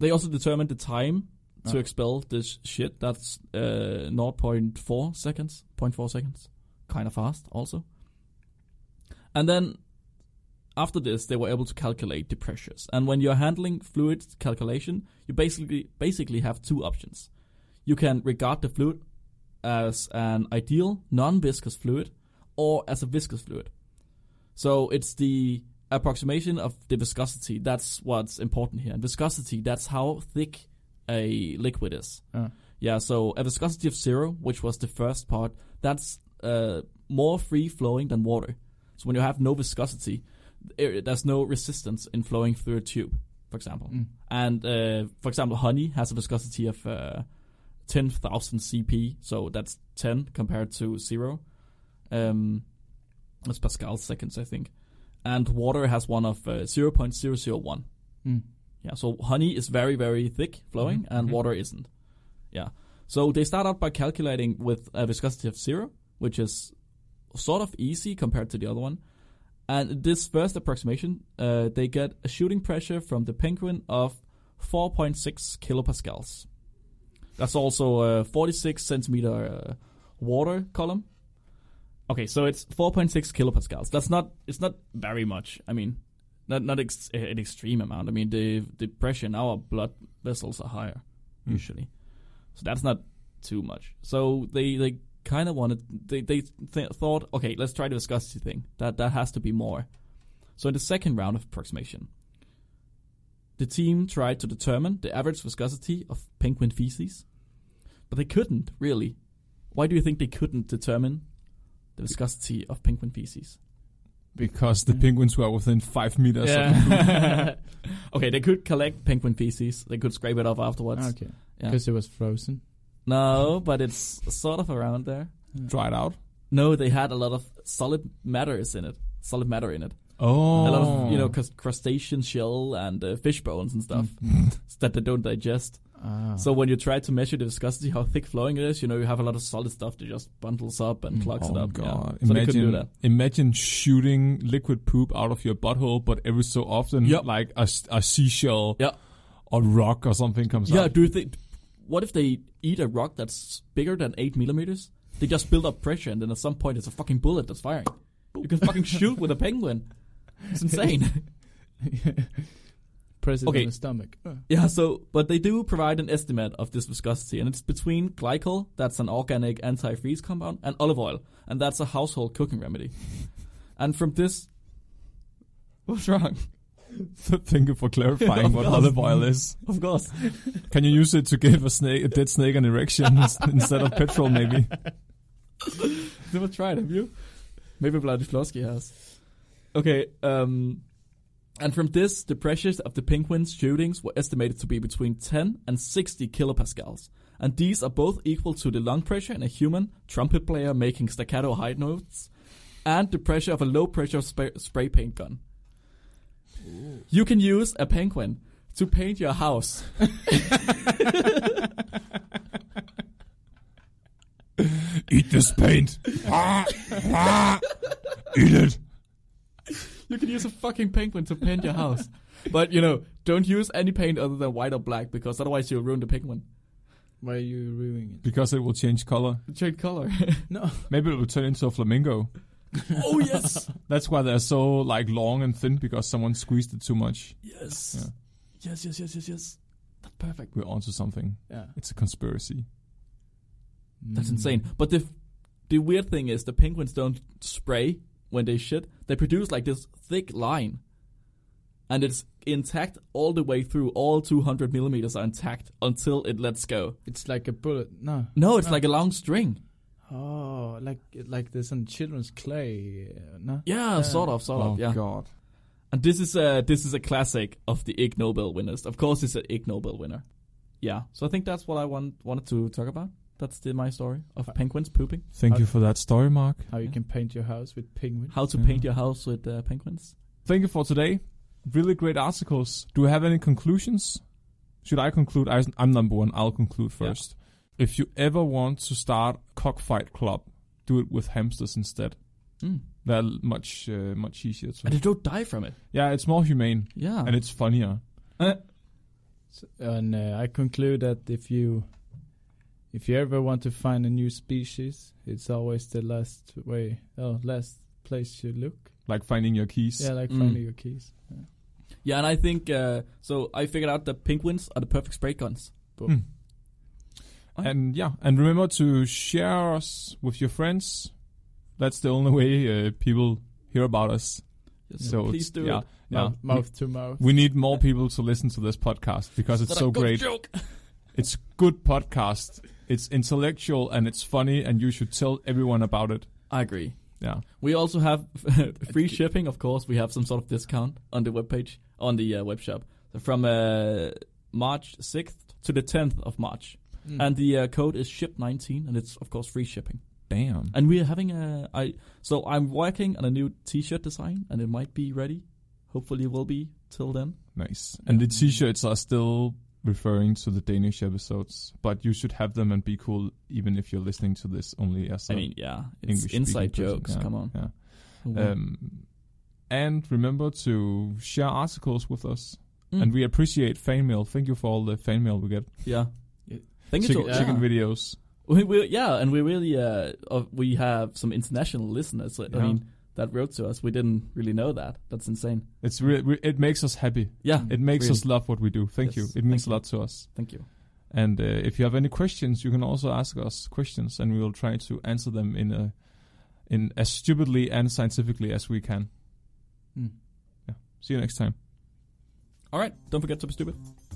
[SPEAKER 2] They also determined the time to
[SPEAKER 3] Ah.
[SPEAKER 2] expel this shit. That's uh, 0.4 seconds, 0.4 seconds, kind of fast, also. And then after this, they were able to calculate the pressures. And when you're handling fluid calculation, you basically basically have two options. You can regard the fluid as an ideal non-viscous fluid, or as a viscous fluid. So it's the approximation of the viscosity. That's what's important here. And viscosity, that's how thick a liquid is.
[SPEAKER 3] Uh.
[SPEAKER 2] Yeah, so a viscosity of zero, which was the first part, that's uh, more free flowing than water. So when you have no viscosity, there- there's no resistance in flowing through a tube, for example.
[SPEAKER 3] Mm.
[SPEAKER 2] And uh, for example, honey has a viscosity of uh, 10,000 CP, so that's 10 compared to zero. Um, that's Pascal seconds, I think. And water has one of uh, 0.001.
[SPEAKER 3] Mm.
[SPEAKER 2] Yeah, so honey is very, very thick flowing,
[SPEAKER 1] Mhm,
[SPEAKER 2] and
[SPEAKER 1] mhm.
[SPEAKER 2] water isn't. Yeah. So they start out by calculating with a viscosity of zero, which is sort of easy compared to the other one. And this first approximation, uh, they get a shooting pressure from the penguin of 4.6 kilopascals. That's also a 46 centimeter uh, water column. Okay, so it's 4.6 kilopascals. That's not it's not very much. I mean, not not ex- eh, an extreme amount. I mean, the the pressure in our blood vessels are higher
[SPEAKER 1] Mm.
[SPEAKER 2] usually, so that's not too much. So they they kind of wanted they they th- thought okay let's try the viscosity thing that that has to be more so in the second round of approximation the team tried to determine the average viscosity of penguin feces but they couldn't really why do you think they couldn't determine the viscosity of penguin feces
[SPEAKER 1] because the penguins were within five meters. Of,
[SPEAKER 2] Mm. yeah. okay they could collect penguin feces they could scrape it off afterwards
[SPEAKER 3] okay.
[SPEAKER 2] Mm. Yeah.
[SPEAKER 3] Because it was frozen.
[SPEAKER 2] no but it's sort of around there
[SPEAKER 1] dried out.
[SPEAKER 2] no they had a lot of solid matters in it solid matter in it
[SPEAKER 1] Oh,
[SPEAKER 2] a lot of you know crus- crustacean shell and uh, fish bones and stuff
[SPEAKER 1] Mm.
[SPEAKER 2] that they don't digest.
[SPEAKER 3] Mm. Ah.
[SPEAKER 2] So when you try to measure the viscosity, how thick flowing it is, you know you have a lot of solid stuff that just bundles up and clogs
[SPEAKER 1] oh
[SPEAKER 2] it up.
[SPEAKER 1] God.
[SPEAKER 2] Yeah. So they
[SPEAKER 1] Imagine,
[SPEAKER 2] couldn't do that.
[SPEAKER 1] imagine shooting liquid poop out of your butthole, but every so often,
[SPEAKER 2] Yep.
[SPEAKER 1] like a, s- a seashell
[SPEAKER 2] Yeah.
[SPEAKER 1] or rock or something comes
[SPEAKER 2] Yeah,
[SPEAKER 1] out.
[SPEAKER 2] do you think? What if they eat a rock that's bigger than eight millimeters? They just build up pressure, and then at some point, it's a fucking bullet that's firing. You can fucking shoot with a penguin. It's insane.
[SPEAKER 3] Press it
[SPEAKER 2] Okay.
[SPEAKER 3] on the stomach.
[SPEAKER 2] Yeah, so but they do provide an estimate of this viscosity, and it's between glycol, that's an organic anti-freeze compound, and olive oil, and that's a household cooking remedy. and from this, what's wrong?
[SPEAKER 1] Thank you for clarifying
[SPEAKER 2] Of
[SPEAKER 1] what
[SPEAKER 2] course.
[SPEAKER 1] olive oil is.
[SPEAKER 2] Of course,
[SPEAKER 1] Can you use it to give a snake, a dead snake, an erection ins- instead of petrol? Maybe.
[SPEAKER 2] never tried, have you? Maybe Bloody Flosky has. Okay, um, and from this, the pressures of the penguins' shootings were estimated to be between 10 and 60 kilopascals, and these are both equal to the lung pressure in a human trumpet player making staccato high notes, and the pressure of a low-pressure spray, spray paint gun. You can use a penguin to paint your house.
[SPEAKER 1] Eat this paint. Eat it.
[SPEAKER 2] You can use a fucking penguin to paint your house. But you know, don't use any paint other than white or black because otherwise you'll ruin the penguin.
[SPEAKER 3] Why are you ruining
[SPEAKER 1] Because it will change color.
[SPEAKER 2] Change color.
[SPEAKER 3] it? No.
[SPEAKER 1] Maybe it will turn into a flamingo.
[SPEAKER 2] oh yes,
[SPEAKER 1] That's why they're so like long and thin because someone squeezed it too much.
[SPEAKER 2] yes,
[SPEAKER 1] Yeah.
[SPEAKER 2] yes, yes, yes, yes, yes. That's perfect.
[SPEAKER 1] We're onto something.
[SPEAKER 3] Yeah.
[SPEAKER 1] It's a conspiracy.
[SPEAKER 2] That's
[SPEAKER 3] Mm.
[SPEAKER 2] insane. But the the weird thing is the penguins don't spray when they shit. They produce like this thick line, and it's intact all the way through. All 200 millimeters are intact until it lets go.
[SPEAKER 3] It's like a bullet. No.
[SPEAKER 2] No, it's like a long string.
[SPEAKER 3] Oh, like like there's some children's clay. uh, No.
[SPEAKER 2] Yeah, sort of, sort
[SPEAKER 1] oh
[SPEAKER 2] of. Yeah.
[SPEAKER 1] God.
[SPEAKER 2] And this is a this is a classic of the Ig Nobel winners. Of course, it's an Ig Nobel winner. Yeah. So I think that's what I want wanted to talk about. That's the, my story of penguins pooping.
[SPEAKER 1] Thank you for that story, Mark.
[SPEAKER 3] How you
[SPEAKER 2] Yeah.
[SPEAKER 3] can paint your house with penguin.
[SPEAKER 2] How to
[SPEAKER 1] Yeah.
[SPEAKER 2] paint your house with uh, penguins.
[SPEAKER 1] Thank you for today. Really great articles. Do we have any conclusions? Should I conclude? I, I'm number one. I'll conclude
[SPEAKER 2] Yeah.
[SPEAKER 1] first. If you ever want to start cockfight club, do it with hamsters instead.
[SPEAKER 2] Mm.
[SPEAKER 1] They're much uh, much easier to.
[SPEAKER 2] And they don't die from it.
[SPEAKER 1] Yeah, it's more humane
[SPEAKER 2] Yeah.
[SPEAKER 1] and it's funnier.
[SPEAKER 3] S- And uh, I conclude that if you if you ever want to find a new species, it's always the last way. Oh, last place you look.
[SPEAKER 1] Like finding your keys.
[SPEAKER 3] Yeah, like
[SPEAKER 2] Mm.
[SPEAKER 3] finding your keys.
[SPEAKER 2] yeah, and I think uh, so. I figured out that penguins are the perfect spray guns.
[SPEAKER 1] Hmm. And yeah, and remember to share us with your friends. That's the only way uh, people hear about us. So it's-
[SPEAKER 2] please do
[SPEAKER 1] yeah,
[SPEAKER 2] it.
[SPEAKER 1] Yeah,
[SPEAKER 3] Mouth, mouth to mouth.
[SPEAKER 1] We need more people to listen to this podcast because it's
[SPEAKER 2] Not a
[SPEAKER 1] so
[SPEAKER 2] good
[SPEAKER 1] great.
[SPEAKER 2] joke.
[SPEAKER 1] It's good podcast. It's intellectual and it's funny, and you should tell everyone about it.
[SPEAKER 2] I agree.
[SPEAKER 1] Yeah,
[SPEAKER 2] We also have free shipping, of course. We have some sort of discount on the webpage, on the uh, web shop. So from uh, March 6th to the 10th of March.
[SPEAKER 3] Mm.
[SPEAKER 2] And the uh, code is SHIP19, and it's, of course, free shipping.
[SPEAKER 1] damn.
[SPEAKER 2] And we're having a. I, so I'm working on a new t shirt design, and it might be ready. Hopefully, it will be till then.
[SPEAKER 1] Nice. And the t-shirts are still referring to the Danish episodes, but you should have them and be cool, even if you're listening to this only as
[SPEAKER 2] I
[SPEAKER 1] an
[SPEAKER 2] mean, yeah, it's
[SPEAKER 1] English-speaking
[SPEAKER 2] inside
[SPEAKER 1] person.
[SPEAKER 2] jokes.
[SPEAKER 1] Yeah,
[SPEAKER 2] Come on. Mm.
[SPEAKER 1] yeah. Um, and remember to share articles with us.
[SPEAKER 2] Mm.
[SPEAKER 1] And we appreciate fan mail. Thank you for all the fan mail we get.
[SPEAKER 2] yeah.
[SPEAKER 3] Yeah.
[SPEAKER 2] Thank you
[SPEAKER 1] Chicken,
[SPEAKER 2] to
[SPEAKER 1] chicken
[SPEAKER 2] yeah.
[SPEAKER 1] videos.
[SPEAKER 2] We, we, yeah, and we really uh, uh, we have some international listeners. I
[SPEAKER 1] Yeah.
[SPEAKER 2] mean, that wrote to us. We didn't really know that. That's insane.
[SPEAKER 1] It's re- re- it makes us happy.
[SPEAKER 2] Yeah,
[SPEAKER 1] It makes
[SPEAKER 2] Really.
[SPEAKER 1] us love what we do. Thank
[SPEAKER 2] Yes,
[SPEAKER 1] you. It means
[SPEAKER 2] thank
[SPEAKER 1] a
[SPEAKER 2] you.
[SPEAKER 1] lot to us.
[SPEAKER 2] thank you.
[SPEAKER 1] And uh, if you have any questions, you can also ask us questions, and we will try to answer them in a in as stupidly and scientifically as we can.
[SPEAKER 3] Mm.
[SPEAKER 1] Yeah. See you next time.
[SPEAKER 2] All right, don't forget to be stupid.